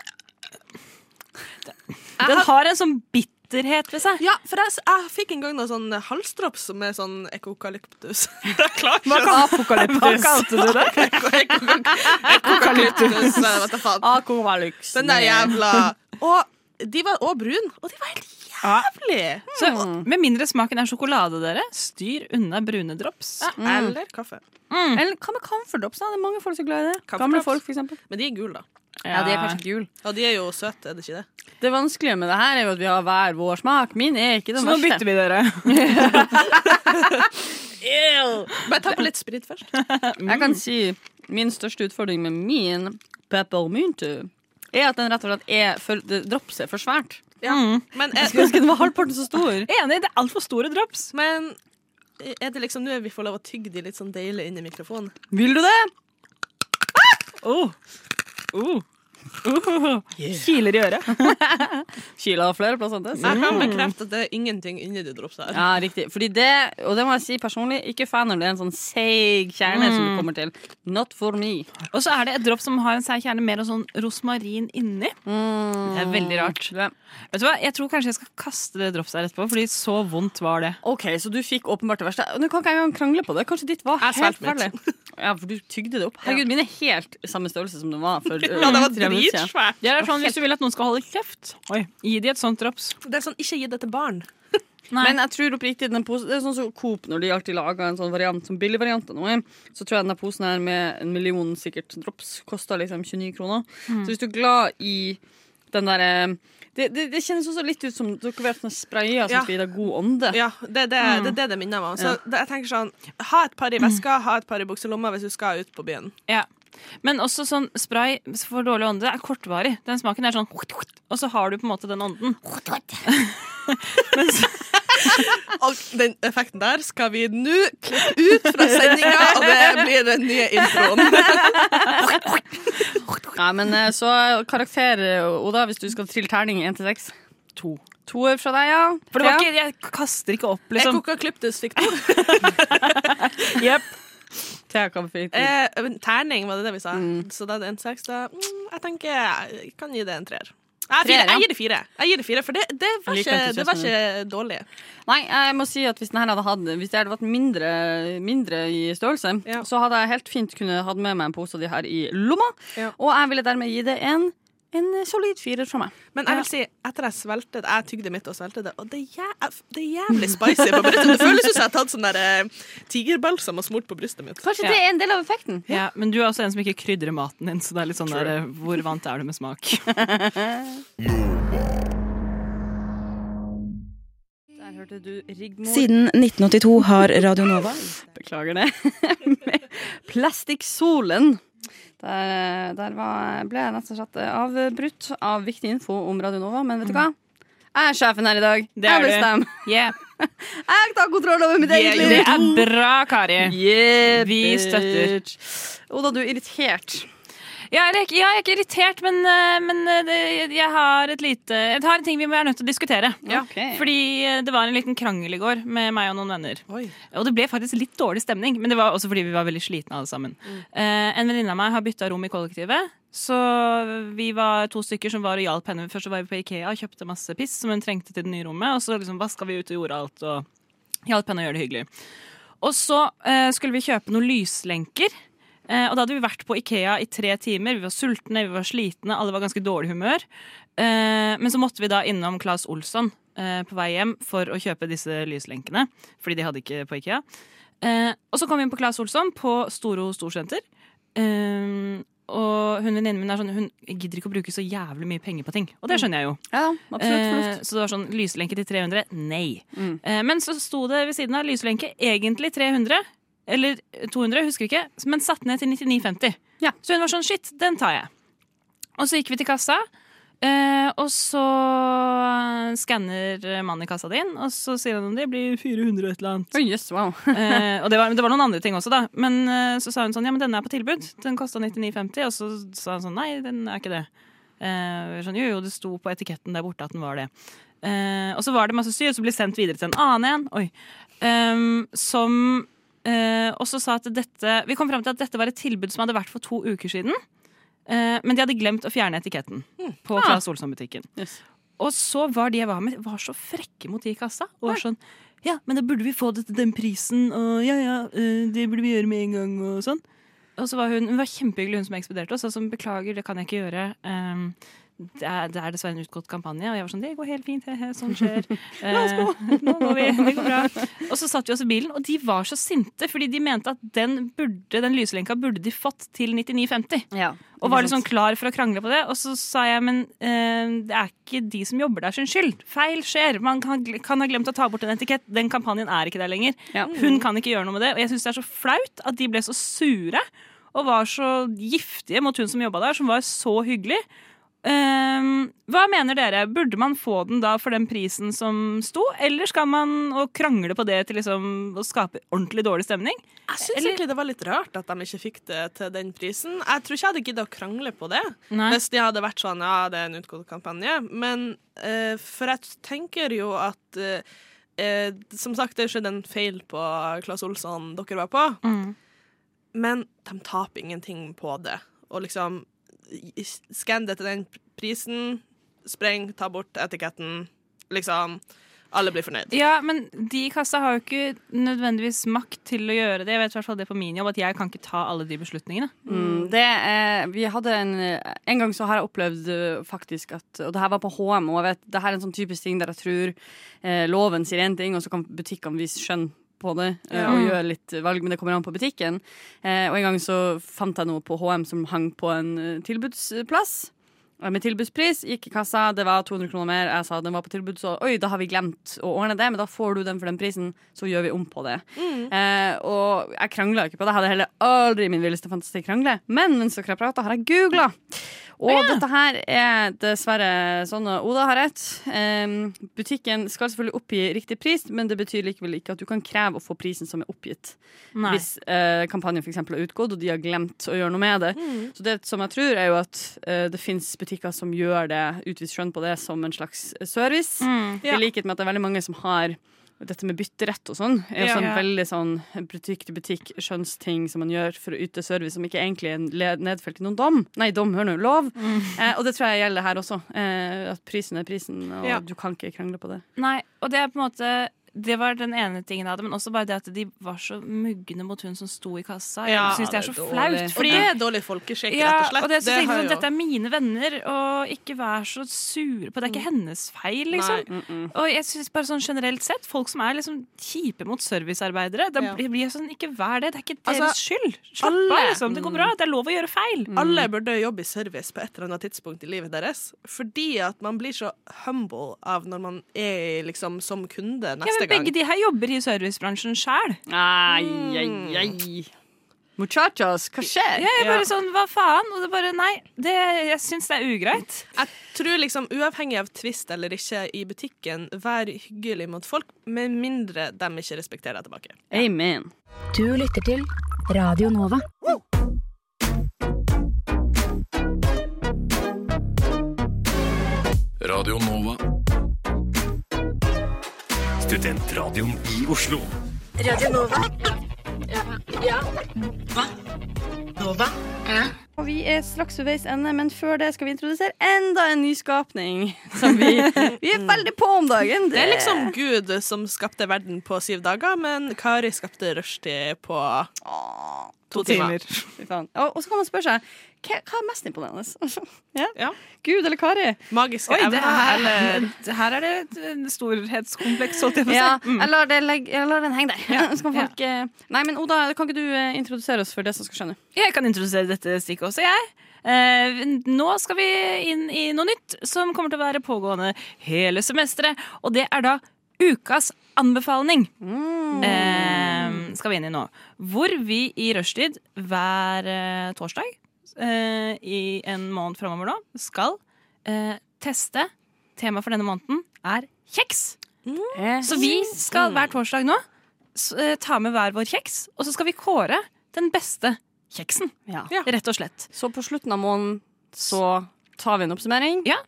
Speaker 4: Den har en sånn bitterhet ved seg.
Speaker 6: Ja, for jeg, jeg fikk en gang noe sånn halsdrops som er sånn ekokalyptus. *laughs* Jeg klarer ikke å
Speaker 4: Hva kalte du det?
Speaker 6: Eukalyptus, nei, vet jeg faen.
Speaker 3: Akovalux.
Speaker 6: Den der jævla Og de var òg brune, og de var helt jævlig!
Speaker 4: Så, med mindre smaken er sjokolade, dere, styr unna brune drops.
Speaker 6: Eller kaffe.
Speaker 3: Eller hva med camphor drops? da? Det er mange folk som er glad i det.
Speaker 6: Camphor
Speaker 3: Gamle
Speaker 6: drops.
Speaker 3: folk, for eksempel.
Speaker 6: Men de er gule, da.
Speaker 3: Ja, de er kanskje ikke jul.
Speaker 6: Og de er jo søte, er det ikke det?
Speaker 3: Det vanskelige med det her er jo at vi har hver vår smak. Min er ikke den
Speaker 4: Så nå
Speaker 3: verste.
Speaker 4: bytter vi dere.
Speaker 6: Bare ta på litt sprit først.
Speaker 3: Jeg kan si min største utfordring med min peppermynte er at den rett og slett er for, det dropset er for svært.
Speaker 6: Men
Speaker 3: Jeg skulle
Speaker 6: er,
Speaker 3: ønske den var halvparten så stor.
Speaker 4: Enig, det er altfor store drops.
Speaker 6: men er det liksom nå vi får lov å tygge de litt sånn deilig inn i mikrofonen?
Speaker 3: Vil du det?
Speaker 4: Oh. Oh. Oh. *laughs* Kiler i øret.
Speaker 3: Kila har flere plasser enn det.
Speaker 6: Jeg kan bekrefte at det er ingenting inni de dropsa her.
Speaker 3: Ja, riktig. Fordi det, og det må jeg si personlig, ikke fan når det er en sånn seig kjerne som du kommer til. Not for me.
Speaker 4: Og så er det et drops som har en seig kjerne med noe sånn rosmarin inni.
Speaker 3: Mm.
Speaker 4: Det er veldig rart.
Speaker 3: Det-
Speaker 4: Vet du hva, Jeg tror kanskje jeg skal kaste det dropset her etterpå, fordi så vondt var det.
Speaker 3: Ok, så du fikk åpenbart det verste. Nå kan ikke jeg engang krangle på det. Kanskje ditt var
Speaker 6: Jeg
Speaker 3: helt
Speaker 6: svelgte mitt.
Speaker 3: ferdig. Ja, for du tygde det opp. Herregud, mine er helt samme størrelse som den var for eh,
Speaker 6: Ja, det var
Speaker 3: tre minutter siden.
Speaker 6: dritsvært.
Speaker 4: Det er sånn, Hvis du vil at noen skal holde kjeft, Oi. gi de et sånt drops.
Speaker 6: Det er sånn, ikke gi det til barn.
Speaker 3: Men jeg tror oppriktig den posen Det er sånn som Coop når de alltid lager en sånn variant som billig variant av noe. Så tror jeg denne posen her med en million sikkert drops koster liksom 29 kroner. Så hvis du er glad i den derre det, det, det kjennes også litt ut som dere vet sånne sprayer som
Speaker 6: Ja.
Speaker 3: skal gi deg god ånde.
Speaker 6: Ja, det er det det, er det, det minner meg om. Så det, jeg tenker sånn, ha et par i veska, ha et par i bukselomma hvis du skal ut på byen.
Speaker 4: Ja. Men også sånn spray for dårlig ånde det er kortvarig. Den smaken er sånn Og så har du på en måte den ånden.
Speaker 6: Og den effekten der skal vi nå klippe ut fra sendinga, og det blir den nye *laughs* introen.
Speaker 3: Nei, men eh, så karakter, eh, Oda, hvis du skal trille terning 1 til 6. To. Toer fra deg, ja.
Speaker 4: For det
Speaker 3: Thea?
Speaker 4: var ikke, jeg kaster ikke opp,
Speaker 6: Jeg
Speaker 4: liksom.
Speaker 6: koka klyptus fikk to.
Speaker 3: Thea kan fint.
Speaker 6: Eh, men terning, var det det vi sa? Så da er det en seks. Da mm, jeg tenker jeg kan gi det en treer. Jeg,
Speaker 3: Treer,
Speaker 6: fire,
Speaker 3: ja.
Speaker 6: jeg gir det fire. Jeg gir det fire, For det, det, var,
Speaker 3: Jeg liker
Speaker 6: ikke, det var
Speaker 3: entusiasmen
Speaker 6: ikke dårlig.
Speaker 3: Nei, jeg må si at hvis den her hadde hatt Hvis det hadde vært mindre, mindre i størrelse,
Speaker 6: Ja.
Speaker 3: så hadde jeg helt fint kunne hatt med meg en pose av de her i lomma.
Speaker 6: Ja.
Speaker 3: Og jeg ville dermed gi det en, en solid firer fra meg.
Speaker 6: Men jeg vil si, etter jeg svelget det Jeg tygde mitt og svelget det, og det er, jæv, det er jævlig spicy på brystet. Det føles ut som jeg har tatt sånn der eh, tigerbalsam og smurt på brystet mitt.
Speaker 3: Kanskje
Speaker 4: Ja.
Speaker 3: det er en del av effekten?
Speaker 4: Ja, men du er også en som ikke krydrer maten din, så det er litt sånn der, eh, hvor vant er du med smak?
Speaker 3: Der hørte du Rigmor
Speaker 9: Siden 1982 har Radio Nova
Speaker 3: Beklager det. *laughs* Med Plastikksolen. Der, der var, ble jeg rett og slett avbrutt av viktig info om Radio Nova, men vet du hva? Jeg er sjefen her i dag.
Speaker 4: *laughs* Det er
Speaker 3: jeg
Speaker 4: du.
Speaker 3: bestemmer.
Speaker 4: Yeah.
Speaker 3: Jeg tar kontroll over mitt eget
Speaker 4: Det
Speaker 3: liv.
Speaker 4: er bra, Kari.
Speaker 3: Yeah,
Speaker 4: Vi støtter.
Speaker 3: bitch. Oda, du er irritert.
Speaker 4: Ja, eller ikke- ja, jeg er ikke irritert, men, eh, men eh, det, jeg har et lite Jeg har en ting vi må- er nødt til å diskutere.
Speaker 3: Fordi
Speaker 4: Fordi eh, det var en liten krangel i går med meg og noen venner. Og det ble faktisk litt dårlig stemning, men det var også fordi vi var veldig slitne alle sammen. Eh, en venninne av meg har bytta rom i kollektivet, så vi var to stykker som var og hjalp henne. Først så var vi på Ikea og kjøpte masse piss som hun trengte til det nye rommet, og så liksom vaska vi ut og gjorde alt og hjalp henne å gjøre det hyggelig. Og så eh, skulle vi kjøpe noen lyslenker. Eh, og da hadde vi vært på Ikea i tre timer. Vi var sultne, vi var slitne, alle var i ganske dårlig humør. Eh, men så måtte vi da innom Claes Olsson eh, på vei hjem for å kjøpe disse lyslenkene. Fordi de hadde ikke på Ikea. Eh, og så kom vi inn på Claes Olsson på Storo Storsenter. Eh, og hun venninnen min er sånn, hun gidder ikke å bruke så jævlig mye penger på ting. Og det skjønner jeg jo.
Speaker 3: Ja, absolutt
Speaker 4: Eh,
Speaker 3: fornuft.
Speaker 4: så det var sånn lyslenke til 300. Nei.
Speaker 3: Mm.
Speaker 4: Eh, men så sto det ved siden av lyslenke egentlig 300. Eller 200, husker ikke. Men satt ned til 99,50.
Speaker 3: Ja.
Speaker 4: Så hun var sånn shit, den tar jeg. Og så gikk vi til kassa. eh, og så skanner mannen i kassa din, og så sier han om det blir 400 og et eller annet.
Speaker 3: Oi, jøss, wow.
Speaker 4: Eh, og det var, men det var noen andre ting også, da. Men eh, så sa hun sånn Ja, men denne er på tilbud. Den kosta 99,50. Og så sa han sånn Nei, den er ikke det. Eh, sånn, jo, jo, det sto på etiketten der borte at den var det. Eh, og så var det masse styr, som ble sendt videre til en annen en. Oi. Ehm, som eh, også sa at dette Vi kom fram til at dette var et tilbud som hadde vært for to uker siden. eh, men de hadde glemt å fjerne etiketten på Claes Olsson-butikken.
Speaker 3: Yes.
Speaker 4: Og så var de jeg var med, var så frekke mot de i kassa. Og var sånn Ja, men da burde vi få det til den prisen, og ja ja, eh, det burde vi gjøre med en gang, og Altså, sånn. Og så var hun, hun var kjempehyggelig, hun som ekspederte oss, og som beklager, det kan jeg ikke gjøre. ehm, det er, det er dessverre en utgått kampanje, og jeg var sånn Det går helt fint, hehe, sånn *laughs* skjer. La oss gå! *laughs* Nå går vi. Det går bra. Og så satt vi oss i bilen, og de var så sinte, fordi de mente at den, burde, den lyslenka burde de fått til 99,50. Og var liksom klar for å krangle på det. Og så sa jeg men eh, det er ikke de som jobber der sin skyld. Feil skjer. Man kan, kan ha glemt å ta bort en etikett. Den kampanjen er ikke der lenger.
Speaker 3: Ja.
Speaker 4: Hun kan ikke gjøre noe med det. Og jeg syns det er så flaut at de ble så sure og var så giftige mot hun som jobba der, som var så hyggelig. Ehm, hva mener dere? Burde man få den da for den prisen som sto, eller skal man å krangle på det til liksom å skape ordentlig dårlig stemning?
Speaker 6: Jeg syns egentlig det var litt rart at de ikke fikk det til den prisen. Jeg tror ikke jeg hadde giddet å krangle på det
Speaker 4: Nei.
Speaker 6: hvis de hadde vært sånn ja, det er en utgått kampanje. Men eh, for jeg tenker jo at eh, eh, Som sagt, det skjedde en feil på Claes Olsson dere var på,
Speaker 4: Mm.
Speaker 6: men de taper ingenting på det. Og liksom i- Skann det til den prisen, spreng, ta bort etiketten, liksom. Alle blir fornøyd.
Speaker 4: Ja, men de i kassa har jo ikke nødvendigvis makt til å gjøre det. Jeg vet i hvert fall det på min jobb, at jeg kan ikke ta alle de beslutningene.
Speaker 3: Mm, det er, vi hadde en, en gang så har jeg opplevd eh, faktisk at Og det her var på HM, og jeg vet, det her er en sånn typisk ting der jeg tror eh, loven sier én ting, og så kan butikkene vise skjønn på det eh, og gjøre litt valg, men det kommer an på butikken. Eh, og en gang så fant jeg noe på HM som hang på en eh, tilbudsplass. Og Med tilbudspris gikk i kassa, det var 200 kroner mer. Jeg sa den var på tilbud, så oi, da har vi glemt å ordne det, men da får du den for den prisen, så gjør vi om på det. Eh, og jeg krangla ikke på det. Jeg hadde heller aldri i min villeste fantasi krangle. Men mens dere har prata, har jeg googla. Og dette her er dessverre sånn at Oda har rett. Em, butikken skal selvfølgelig oppgi riktig pris, men det betyr likevel ikke at du kan kreve å få prisen som er oppgitt. Hvis eh, kampanjen for eksempel er utgått, og de har glemt å gjøre noe med det. Så det som jeg tror, er jo at eh, det fins butikker som gjør det, utvist skjønn på det, som en slags eh, service.
Speaker 4: Mm.
Speaker 6: Ja.
Speaker 3: I likhet med at det er veldig mange som har dette med bytterett og sånn. Er jo
Speaker 6: Ja.
Speaker 3: sånn veldig sånn butikk til butikk, skjønnsting som man gjør for å yte service som ikke egentlig er le- nedfelt i noen dom. Nei, dom hører nå lov. Eh, og det tror jeg gjelder her også. Eh, at prisen er prisen, og
Speaker 6: Ja.
Speaker 3: du kan ikke krangle på det.
Speaker 4: Nei, og det er på en måte det var den ene tingen jeg hadde, men også bare det at de var så mugne mot hun som sto i kassa. Jeg
Speaker 6: Ja,
Speaker 4: synes det er
Speaker 6: det er
Speaker 4: så
Speaker 6: dårlig.
Speaker 4: flaut.
Speaker 6: Og
Speaker 4: Fordi,
Speaker 6: det er dårlig folkeskikk,
Speaker 4: ja,
Speaker 6: rett og slett.
Speaker 4: og det, så tenkte
Speaker 6: har
Speaker 4: jeg sånn,
Speaker 6: jo-
Speaker 4: Dette er mine venner, og ikke vær så sure på det. Det er ikke hennes feil, liksom.
Speaker 6: Mm. Nei. mm,
Speaker 4: Og jeg synes bare sånn generelt sett, folk som er liksom kjipe mot servicearbeidere, da
Speaker 6: Ja.
Speaker 4: blir blir jeg sånn Ikke vær det. Det er ikke deres
Speaker 6: Altså,
Speaker 4: skyld. Slapp av,
Speaker 6: alle- Mm.
Speaker 4: liksom. Det går bra. Det er lov å gjøre feil.
Speaker 6: Alle burde jobbe i service på et eller annet tidspunkt i livet deres. Fordi at man blir så humble av når man er liksom som kunde
Speaker 4: Ja,
Speaker 6: neste
Speaker 4: men
Speaker 6: gang.
Speaker 4: begge de her jobber i servicebransjen sjæl.
Speaker 3: Ai, ai, ai. Mm. Muchachos, hva skjer?
Speaker 4: Jeg er bare sånn, hva faen? Og det bare, nei, det, jeg syns det er ugreit.
Speaker 6: Jeg tror liksom uavhengig av tvist eller ikke i butikken, vær hyggelig mot folk, med mindre de ikke respekterer deg tilbake.
Speaker 3: Amen.
Speaker 7: Du lytter til Radio Nova.
Speaker 5: Radio Nova. Studentradioen i Oslo.
Speaker 3: Og vi er straks ved veis ende, men før det skal vi introdusere enda en nyskapning. Som *laughs* vi, vi er veldig på om dagen.
Speaker 6: Det er liksom Gud som skapte verden på syv dager, men Kari skapte rushtid på to timer.
Speaker 3: Fy faen. Og, og så kan man spørre seg hva, hva er mest imponerende? *laughs* ja.
Speaker 6: Ja.
Speaker 3: Gud eller Kari?
Speaker 6: Magiske
Speaker 4: Oi, det
Speaker 6: evner.
Speaker 4: her, her er det et eh, storhetskompleks, holdt jeg på å si. Mm.
Speaker 3: Ja, jeg, lar det legge, jeg lar den henge der. *laughs* Så kan folk, eh, Mm. Nei, men Oda, kan ikke du eh, introdusere oss for det som skal skjønne?
Speaker 4: Jeg kan introdusere dette stikket også, jeg. Eh, nå skal vi inn i noe nytt som kommer til å være pågående hele semesteret. Og det er da ukas anbefaling. Eh, skal vi inn i nå. Hvor vi i rushtid hver eh, torsdag eh, i en måned framover nå skal eh, teste Temaet for denne måneden er kjeks.
Speaker 3: Eh,
Speaker 4: Så vi skal hver torsdag nå s- eh, ta med hver vår kjeks, og så skal vi kåre den beste kjeksen.
Speaker 3: Ja.
Speaker 4: Rett og slett.
Speaker 3: Så på slutten av måneden så tar vi en oppsummering.
Speaker 4: Ja,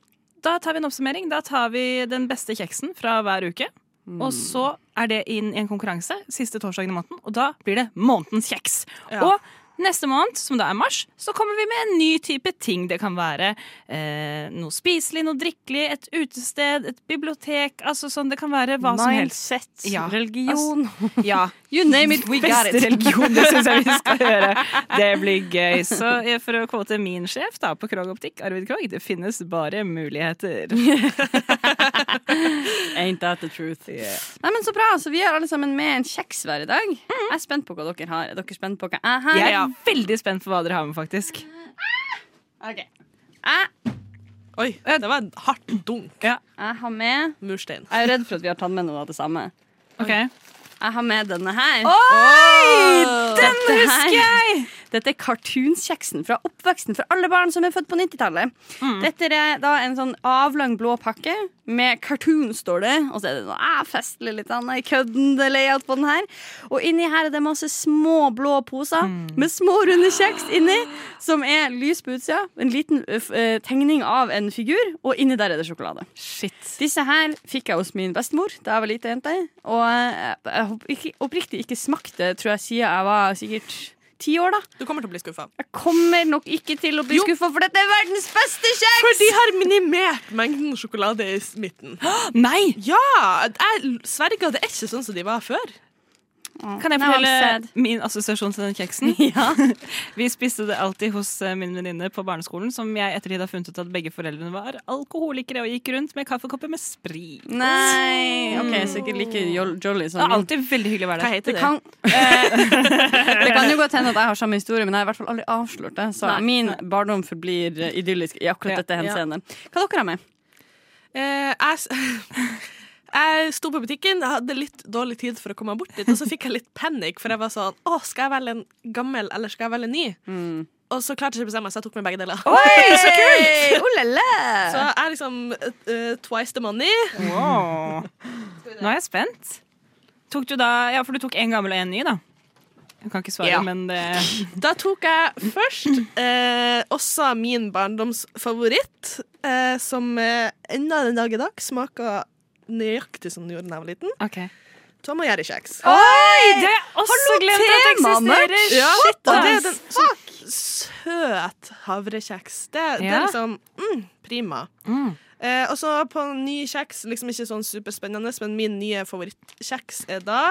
Speaker 4: da tar vi en oppsummering. Da tar vi den beste kjeksen fra hver uke.
Speaker 3: Mm.
Speaker 4: Og så er det inn i en konkurranse siste torsdagen i måneden, og da blir det månedens kjeks.
Speaker 6: Ja.
Speaker 4: Og Neste måned, som da er mars, så kommer vi med en ny type ting. Det kan være eh, noe spiselig, noe drikkelig, et utested, et bibliotek. Altså sånn, det kan være hva som helst.
Speaker 3: Mindset,
Speaker 4: Ja,
Speaker 3: religion
Speaker 4: Ja,
Speaker 3: *laughs* You name it, we got
Speaker 4: Beste
Speaker 3: it.
Speaker 4: religion, det syns jeg vi skal gjøre. Det blir gøy. Så eh, for å kvote min sjef da, på Krog Optikk, Arvid Krog, det finnes bare *laughs* muligheter.
Speaker 3: Ain't that the truth? Nei, men Så bra. så Vi er alle sammen med en kjeks hver i dag. Jeg er spent på hva dere har. Er dere spent på hva jeg har?
Speaker 4: Jeg er veldig spent på hva dere har med, faktisk.
Speaker 6: Oi, det var en hardt dunk.
Speaker 3: Jeg har med
Speaker 6: Murstein.
Speaker 3: Jeg er jo redd for at vi har tatt med noe av det samme.
Speaker 4: Ok,
Speaker 3: Jeg har med denne her.
Speaker 4: Oi! Den
Speaker 3: Dette her-
Speaker 4: husker jeg!
Speaker 3: Dette er cartoonskjeksen fra oppveksten for alle barn som er født på 90-tallet.
Speaker 4: Mm.
Speaker 3: Dette er da en sånn avlang blå pakke med cartoon, står det. Og så er det noe ah, festlig litt annet køddende layout på den her. Og inni her er det masse små blå poser
Speaker 4: Mm.
Speaker 3: med små runde kjeks inni, som er lys på utsida. En liten ø, f- ø, tegning av en figur, og inni der er det sjokolade.
Speaker 4: Shit.
Speaker 3: Disse her fikk jeg hos min bestemor da jeg var lite jente. Og jeg jeg har ikke- oppriktig ikke smakt det, tror jeg, siden jeg var sikkert ti år, da.
Speaker 6: Du kommer til å bli skuffa.
Speaker 3: Jeg kommer nok ikke til å bli skuffa, for dette er verdens beste kjeks!
Speaker 6: For de har minimert mengden sjokolade i midten.
Speaker 4: Nei!
Speaker 6: Ja! Jeg sverger, det er ikke sånn som de var før.
Speaker 4: Kan jeg
Speaker 3: Now I'm sad.
Speaker 4: fortelle min assosiasjon til den kjeksen? *laughs*
Speaker 3: Ja.
Speaker 4: Vi spiste det alltid hos eh, min venninne på barneskolen, som jeg ettertid har funnet ut at begge foreldrene var alkoholikere og gikk rundt med kaffekopper med sprit.
Speaker 3: Nei OK, sikkert like jo- jolly
Speaker 4: Det
Speaker 3: som
Speaker 4: er
Speaker 3: min.
Speaker 4: Mm. alltid veldig hyggelig å være der.
Speaker 3: Det kan, Eh,
Speaker 4: *laughs*
Speaker 3: det kan jo godt hende at jeg har samme historie, men jeg har i hvert fall aldri avslørt det. Så min barndom forblir eh, idyllisk i akkurat dette henseende. Hva dere har med?
Speaker 6: Eh, jeg, s- *laughs* jeg sto på butikken, jeg hadde litt dårlig tid for å komme bort dit, og så fikk jeg litt panikk, for jeg var sånn Å, skal jeg velge en gammel, eller skal jeg velge en ny? Og så klarte jeg ikke å bestemme meg, så jeg tok med begge deler.
Speaker 3: Så kult! Oh, la, la.
Speaker 6: *laughs* Så jeg er liksom eh, twice the money.
Speaker 4: Wow. Nå er jeg spent. Tok du da, ja, for du tok en gammel og en ny, da. Jeg kan ikke svare,
Speaker 6: Ja.
Speaker 4: men det
Speaker 6: Da tok jeg først eh, også min barndomsfavoritt, eh, som eh, ennå den dag i dag smaker nøyaktig som den gjorde da jeg var liten. Tom og Jerry-kjeks.
Speaker 4: Oi! Det er også glemt at det
Speaker 3: temaene.
Speaker 4: eksisterer!
Speaker 6: Ja,
Speaker 4: Shit,
Speaker 6: og
Speaker 4: ass.
Speaker 6: det er den sånn søt havrekjeks. Det, det er
Speaker 4: Ja. Mm.
Speaker 6: liksom mm, prima. Eh, og så på ny kjeks, liksom ikke sånn superspennende, men min nye favorittkjeks er da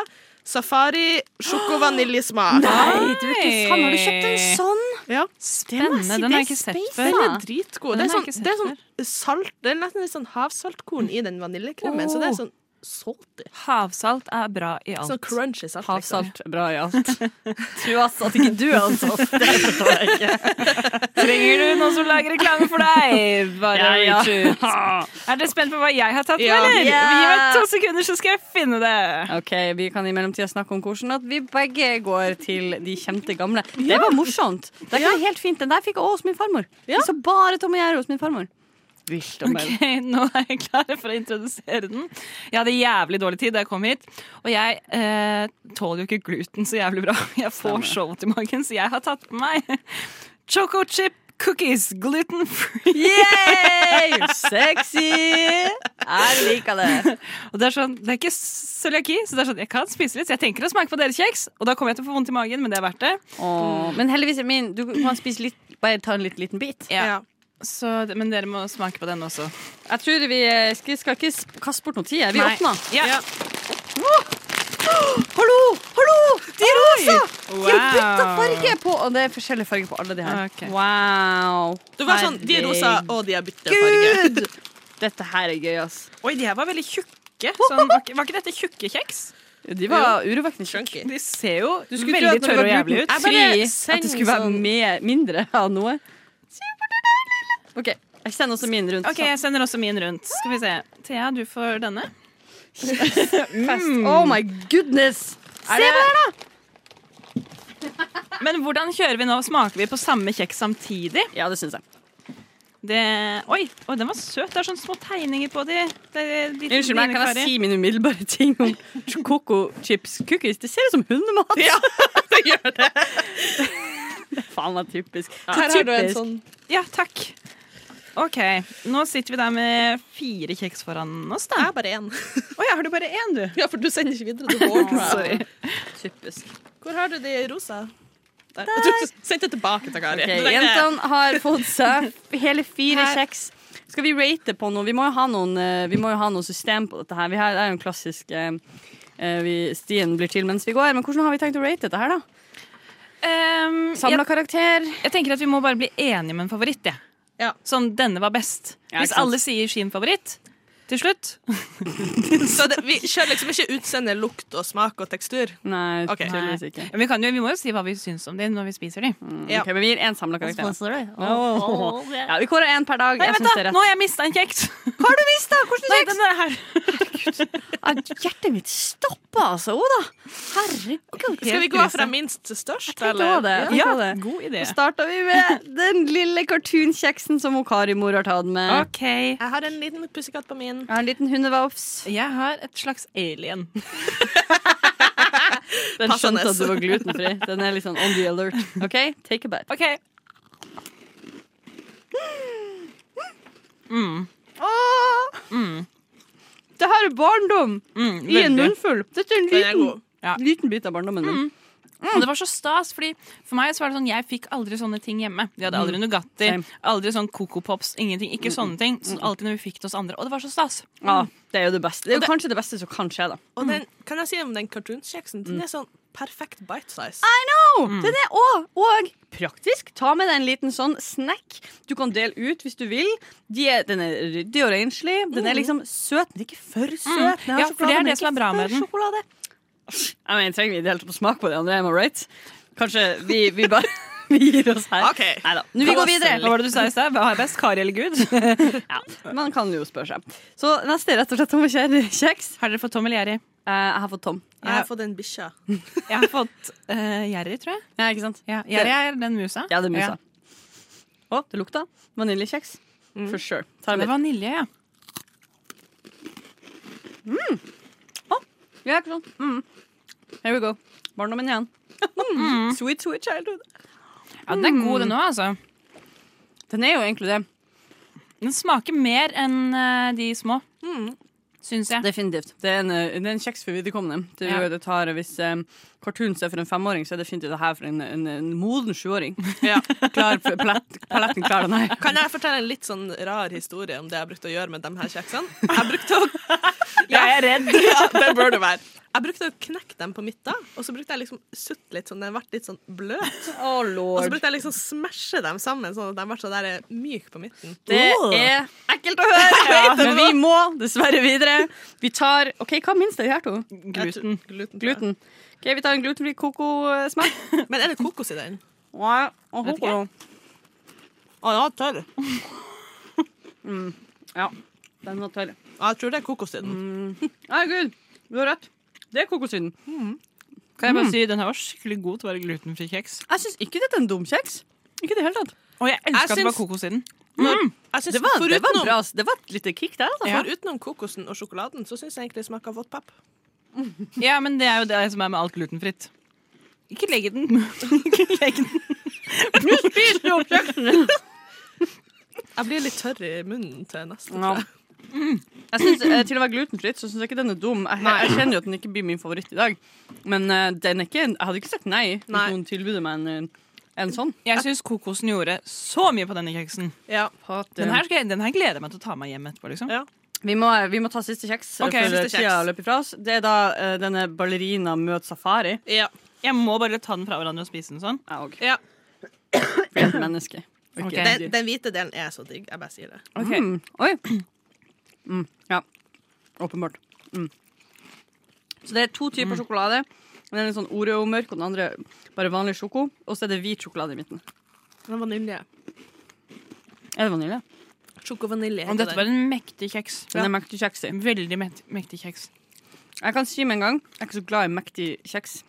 Speaker 6: safari
Speaker 4: *gasps*
Speaker 6: sjoko-vaniljesmak.
Speaker 3: Nei, du er ikke sann. Har du kjøpt en sånn?
Speaker 6: Ja.
Speaker 4: Spennende. Den har jeg ikke sett før.
Speaker 6: Den er dritgod.
Speaker 4: Den
Speaker 6: Det er,
Speaker 4: har
Speaker 6: sånn,
Speaker 4: jeg ikke
Speaker 6: det
Speaker 4: sett
Speaker 6: er sånn salt Det er nesten litt sånn havsaltkorn i den vaniljekremen, så det er sånn salty.
Speaker 4: Havsalt er bra i Oh. alt.
Speaker 6: Sånn crunchy salt. Liksom.
Speaker 3: Havsalt er bra i *laughs* alt. Tro altså at ikke du er ansalt. *laughs* Det forstår *laughs* jeg ikke.
Speaker 4: Trenger du noen som lager reklame for deg? Bare
Speaker 3: Ja, ja.
Speaker 4: reach ut. Er dere spent på hva jeg har tatt med,
Speaker 6: Ja.
Speaker 4: eller?
Speaker 3: Ja.
Speaker 4: Gi meg to sekunder, så skal jeg finne det.
Speaker 3: Ok, Vi kan i mellomtida snakke om hvordan at vi begge går til de kjente gamle. Det var morsomt. Det er ikke helt fint. Den der fikk jeg også hos min farmor. Vi så bare Tom og Jerry hos min farmor. Vilt om
Speaker 4: Ok, *laughs* Nå er jeg klar for å introdusere den. Jeg hadde jævlig dårlig tid da jeg kom hit. Og jeg eh, tåler jo ikke gluten så jævlig bra. *laughs* Jeg får så vondt i magen, så jeg har tatt med meg *laughs* choco chip cookies gluten free.
Speaker 3: Yay! Sexy! Jeg liker det.
Speaker 4: Og det er sånn, det er ikke cøliaki, så det er sånn, jeg kan spise litt. Så jeg tenker å smake på deres kjeks, og da kommer jeg til å få vondt i magen, men det er verdt det.
Speaker 3: Åh, men heldigvis er min Du kan spise litt, bare ta en liten, liten bit.
Speaker 6: Ja.
Speaker 4: Så, men dere må smake på den også.
Speaker 3: Jeg tror vi eh, skal, skal ikke sp- kaste bort noe tid. Vi
Speaker 4: Nei.
Speaker 3: åpner.
Speaker 4: Ja.
Speaker 3: Hallo! Hallo! De er rosa! De har bytta
Speaker 4: Wow.
Speaker 3: farge på Og det er forskjellig farge på alle de her.
Speaker 4: Ok.
Speaker 3: Wow.
Speaker 6: Du var sånn, De er rosa, og de har bytta farge.
Speaker 3: Herregud! Dette her er gøy, ass.
Speaker 4: Oi, de her var veldig *laughs* tjukke. Sånn, var, ikke, var ikke dette tjukke kjeks?
Speaker 3: De var urovekkende
Speaker 6: Chunky.
Speaker 4: De ser jo
Speaker 3: Skulle tro
Speaker 4: veldig
Speaker 3: at når
Speaker 4: tørre og
Speaker 3: det var
Speaker 4: jævlig ut.
Speaker 3: glutenfri,
Speaker 6: Jeg bare
Speaker 3: At det
Speaker 6: sender
Speaker 3: skulle være
Speaker 6: sånn-
Speaker 3: mer, mindre av noe. OK. Jeg sender også min rundt.
Speaker 4: Ok, jeg sender også min rundt. Skal vi se. Thea, du får denne.
Speaker 3: sånn fest. Oh my goodness! Se på her, da!
Speaker 4: Men hvordan kjører vi nå? Smaker vi på samme kjeks samtidig?
Speaker 3: Ja, det syns jeg.
Speaker 4: Det, oi, oi, den var søt. Det er sånne små tegninger på de. Det er de
Speaker 3: Unnskyld meg,
Speaker 4: dine,
Speaker 3: kan
Speaker 4: Kari.
Speaker 3: jeg si min umiddelbare ting om Coco Chips Cookies? Det ser ut som hundemat! Ja, *laughs* det gjør det. Det er faen meg typisk. Så
Speaker 6: Her har du en
Speaker 3: typisk.
Speaker 6: sånn
Speaker 4: Ja, takk. Ok, nå sitter vi der med fire kjeks foran oss, da.
Speaker 6: Jeg er bare *laughs* én.
Speaker 4: Å ja, har du bare én, du?
Speaker 6: *laughs* Ja, for du sender ikke videre. Du går, tror jeg.
Speaker 4: Sorry.
Speaker 3: Typisk.
Speaker 6: Hvor har du de rosa? Der. Jeg tror du sendte det tilbake til Kari.
Speaker 3: Ok,
Speaker 6: Det er det.
Speaker 3: Jentene har fått seg *laughs* hele fire
Speaker 6: Her.
Speaker 3: kjeks. Skal vi rate på noe? Vi må jo ha noen, eh, vi må jo ha noen system på dette her. Vi har, det er jo en klassisk eh, eh, vi, Stien blir til mens vi går. Men hvordan har vi tenkt å rate dette her, da?
Speaker 4: Ehm,
Speaker 3: Samla
Speaker 4: jeg,
Speaker 3: karakter.
Speaker 4: jeg tenker at vi må bare bli enige om en favoritt. jeg.
Speaker 6: Ja.
Speaker 4: Sånn, denne var best.
Speaker 3: Ja,
Speaker 4: Hvis
Speaker 3: ikke sant.
Speaker 4: alle sier sin favoritt til slutt
Speaker 6: Så det, vi kjører liksom ikke utseende, lukt og smak og tekstur.
Speaker 3: Nei,
Speaker 6: Ok.
Speaker 3: tydeligvis ikke.
Speaker 4: Men vi, kan jo, vi må jo si hva vi syns om dem når vi spiser dem.
Speaker 6: Ja.
Speaker 3: Ok, men vi gir én samla karakter. da. Ja, vi kårer én per dag.
Speaker 4: Nei,
Speaker 3: jeg
Speaker 4: vent
Speaker 3: synes det
Speaker 4: da!
Speaker 3: er
Speaker 4: Nå
Speaker 3: rett.
Speaker 4: har jeg mista en kjeks! Hva har du mista? Hvordan kjeks? *laughs* Nei, den er her.
Speaker 3: Ah, Hjertet mitt stopper, altså. Oda. Herregud.
Speaker 6: Skal vi gå fra minst til størst?
Speaker 3: Eller? Det.
Speaker 6: Ja.
Speaker 3: Ja. Det.
Speaker 4: God idé.
Speaker 3: Så starta vi med den lille cartoon-kjeksen som Okari-mor har tatt med.
Speaker 4: OK.
Speaker 6: Jeg har en liten pussekatt på min.
Speaker 3: Jeg har en liten hundevalps.
Speaker 4: Jeg har et slags alien.
Speaker 3: Den
Speaker 6: Passende.
Speaker 3: skjønte at du var glutenfri. Den er litt sånn on the alert. OK, take a bite.
Speaker 4: OK.
Speaker 3: Det her er barndom
Speaker 4: Mm,
Speaker 3: i en
Speaker 4: veldig.
Speaker 3: munnfull. Dette er en
Speaker 6: Den er
Speaker 3: liten,
Speaker 6: god.
Speaker 4: Ja.
Speaker 3: liten bit av barndommen min.
Speaker 4: Og det var så stas, fordi for meg så var det sånn Jeg fikk aldri sånne ting hjemme. Vi hadde aldri Nugatti,
Speaker 3: Same.
Speaker 4: aldri sånn Coco Pops, ingenting. Ikke sånne ting. Så alltid når vi fikk det hos andre. Og det var så stas.
Speaker 3: Ja, det er jo det beste. Det er jo kanskje det beste som kan skje, da.
Speaker 6: Og den, kan jeg si om den cartoonskjeksen? Den er sånn perfekt bite size.
Speaker 3: Den er òg og praktisk. Ta med deg en liten sånn snack du kan dele ut hvis du vil. De er, den er ryddig og renslig. Den er liksom søt, men ikke for søt. Den har
Speaker 4: Ja, for
Speaker 3: sjokolade,
Speaker 4: det er
Speaker 3: men
Speaker 4: det
Speaker 3: ikke
Speaker 4: som er bra
Speaker 3: Mm. for
Speaker 4: med den.
Speaker 3: Sjokolade. Jeg mener, trenger vi i det hele tatt å smake på det, André? Am I right? Kanskje vi, vi bare *laughs* vi gir oss her.
Speaker 6: Ok.
Speaker 3: Neida. Nå, vi går videre.
Speaker 4: Hva var det du sa i sted? Hva er best, Kari eller
Speaker 3: *laughs*
Speaker 4: Gud?
Speaker 3: Man kan jo spørre seg. Så neste er rett og slett Tom og Kjær kjeks.
Speaker 4: Har dere fått Tom eller Jerry?
Speaker 3: Eh, jeg har fått Tom.
Speaker 6: Jeg har fått en bikkja.
Speaker 4: Jeg har fått eh, Jerry, tror jeg.
Speaker 3: Ja, ikke sant?
Speaker 4: Ja, Jerry er den musa.
Speaker 3: Ja, det er musa. Å, det lukta vaniljekjeks. For sure. Tar en
Speaker 4: Det
Speaker 3: bit.
Speaker 4: er vanilje, ja.
Speaker 3: Ja, ikke sant? Mm. Here we go. Barndommen igjen.
Speaker 6: Mm.
Speaker 3: Sweet, sweet childhood.
Speaker 4: ja. Den er god, den òg, altså.
Speaker 3: Den er jo egentlig det.
Speaker 4: Den smaker mer enn eh, de små. Mm. Syns jeg.
Speaker 3: Definitivt. Det er en, eh, det er en kjeks for viderekommende. Det, er jo-
Speaker 4: Ja.
Speaker 3: det tar, hvis um, cartoons er for en femåring, så er definitivt det her for en, en, en moden *laughs* sjuåring. Klar, p- palett, paletten klarer den her.
Speaker 6: Kan jeg fortelle en litt sånn rar historie om det jeg brukte å gjøre med de her kjeksene? Jeg brukte å
Speaker 4: *laughs* Jeg er redd.
Speaker 6: *laughs* Ja, det bør det være. Jeg brukte å knekke dem på midten, og så brukte jeg liksom sutt litt sånn den ble litt sånn bløt.
Speaker 3: Oh,
Speaker 6: Og så
Speaker 3: lord.
Speaker 6: brukte jeg liksom smashe dem sammen sånn at de ble så der eh, myk på midten.
Speaker 3: Det er ekkelt å *laughs* høre,
Speaker 6: Ja.
Speaker 3: men vi må dessverre videre. Vi tar OK, hva minst er de her to?
Speaker 4: Gluten.
Speaker 6: Gluten.
Speaker 3: Gluten. Ok, Vi tar en glutenfri kokosmak.
Speaker 6: Men er det kokos i den?
Speaker 3: Ja, og kokos.
Speaker 6: Å, den var tørr.
Speaker 3: Ja, den var tørr.
Speaker 6: Ja, Jeg tror det er kokos i den.
Speaker 3: Nei, gud, du har rett. Det er kokosvin.
Speaker 4: Kan jeg bare si, Den her var skikkelig god til å være glutenfri kjeks.
Speaker 3: Jeg syns ikke dette er en dum kjeks. Ikke det hele tatt.
Speaker 4: Og jeg
Speaker 6: Jeg
Speaker 4: elsker at det var
Speaker 6: syns-
Speaker 4: kokos i den.
Speaker 6: Jeg
Speaker 3: Det
Speaker 6: synes,
Speaker 3: var, det var
Speaker 6: forutenom-
Speaker 3: bra. Det var et lite kick der, altså.
Speaker 4: Ja.
Speaker 6: Forutenom kokosen og sjokoladen, så syns jeg egentlig det smaker vått papp.
Speaker 4: Ja, men det er jo det som er med alt glutenfritt. Ikke legge den. Ikke legge den.
Speaker 6: Jeg blir litt tørr i munnen til neste.
Speaker 3: Ja. Jeg synes, eh, Til å være glutenfritt så syns jeg ikke den er dum. Jeg, jeg kjenner jo at den ikke blir min favoritt i dag. Men eh, den er ikke Jeg hadde ikke sagt nei hvis
Speaker 6: Nei.
Speaker 3: noen tilbød meg en, en sånn.
Speaker 4: Jeg syns kokosen gjorde så mye på denne kjeksen.
Speaker 6: Ja.
Speaker 4: Den her, skal jeg, den her gleder jeg meg til å ta meg hjem etterpå. liksom.
Speaker 6: Ja.
Speaker 3: Vi må, vi må ta siste kjeks. eh,
Speaker 4: Ok,
Speaker 3: før
Speaker 6: siste kjeks.
Speaker 3: tida løper ifra oss. Det er da eh, denne ballerina møter safari.
Speaker 6: Ja.
Speaker 4: Jeg må bare ta den fra hverandre og spise den sånn.
Speaker 3: Jeg òg.
Speaker 6: Ja.
Speaker 3: For jeg er et menneske. og ikke
Speaker 4: Ok.
Speaker 3: et
Speaker 6: Den,
Speaker 3: dyr.
Speaker 6: den hvite delen er så digg. Jeg bare sier det.
Speaker 3: Mm. Oi. *clears throat* Mm. Ja. Åpenbart. Mm. Så det er to typer sjokolade. Den er litt sånn Oreo-mørk, og den andre bare vanlig sjoko. Og så er det hvit sjokolade i midten.
Speaker 6: Men vanilje.
Speaker 3: Er det vanilje?
Speaker 6: Sjokovanilje.
Speaker 4: Og dette var en mektig kjeks.
Speaker 3: Den er mektig kjeks i.
Speaker 4: En Veldig mekt, mektig kjeks.
Speaker 3: Jeg kan si med en gang, jeg er ikke så glad i mektig kjeks.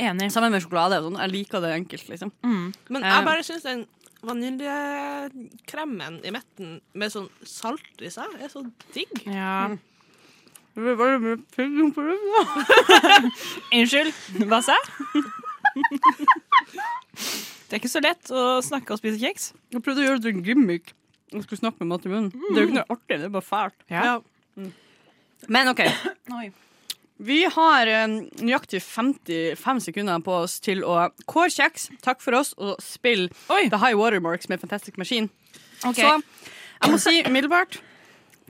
Speaker 4: Enig.
Speaker 3: Sammen med sjokolade og sånn. Jeg liker det enkelt, liksom.
Speaker 6: Men
Speaker 3: Eh.
Speaker 6: jeg bare syns den vaniljekremen i midten med sånn salt i seg, er så digg.
Speaker 4: Ja.
Speaker 3: Nei,
Speaker 4: Unnskyld, hva sa jeg? *laughs* Det er ikke så lett å snakke og spise kjeks.
Speaker 3: Jeg prøvde å gjøre det til en gimmick. Jeg skulle snakke med mat i munnen. Det er jo ikke noe artig, det er bare fælt.
Speaker 4: Ja.
Speaker 3: Men OK. Vi har eh, nøyaktig 55 sekunder på oss til å kåre kjeks, takk for oss, og spille The High Watermarks med Fantastic Machine. Så jeg må si umiddelbart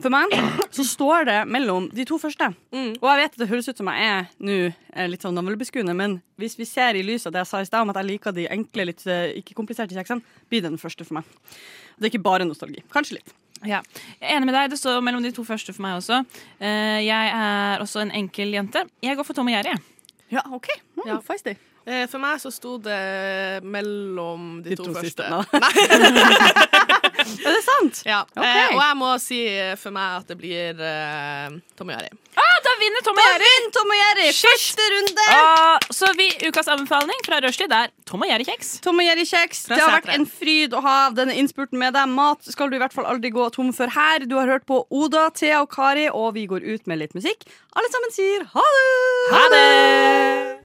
Speaker 3: For meg så står det mellom de to første. Og jeg vet at det høres ut som jeg er nå eh, litt sånn navlebeskuende, men hvis vi ser i lys av det jeg sa i stad om at jeg liker de enkle, litt eh, ikke kompliserte kjeksene, blir det den første for meg. Og det er ikke bare nostalgi. Kanskje litt.
Speaker 4: Ja. Jeg er enig med deg. Det står mellom de to første for meg også. Eh, jeg er også en enkel jente. Jeg går for Tom og Jerry. jeg.
Speaker 3: Ja, OK. Mm, Feisty.
Speaker 6: Eh, For meg så sto det mellom de,
Speaker 3: De
Speaker 6: to,
Speaker 3: to siste, *laughs* da.
Speaker 6: første. Nei,
Speaker 3: Er det sant?
Speaker 6: ja.
Speaker 3: Ok.
Speaker 6: eh, og jeg må si eh, for meg at det blir eh, Tom og Jari.
Speaker 4: Ah, Da vinner Tom og Jerry!
Speaker 3: Vinn, Tom og Jerry! Første runde!
Speaker 4: Ah, så vi, ukas anbefaling fra Rushdie er Tom og Jerry-kjeks.
Speaker 3: Tom og Jerry Kjeks, det har vært en fryd å ha denne innspurten med deg. Mat skal du i hvert fall aldri gå tom for her. Du har hørt på Oda, Thea og Kari, og vi går ut med litt musikk. Alle sammen sier ha det!
Speaker 4: Ha det!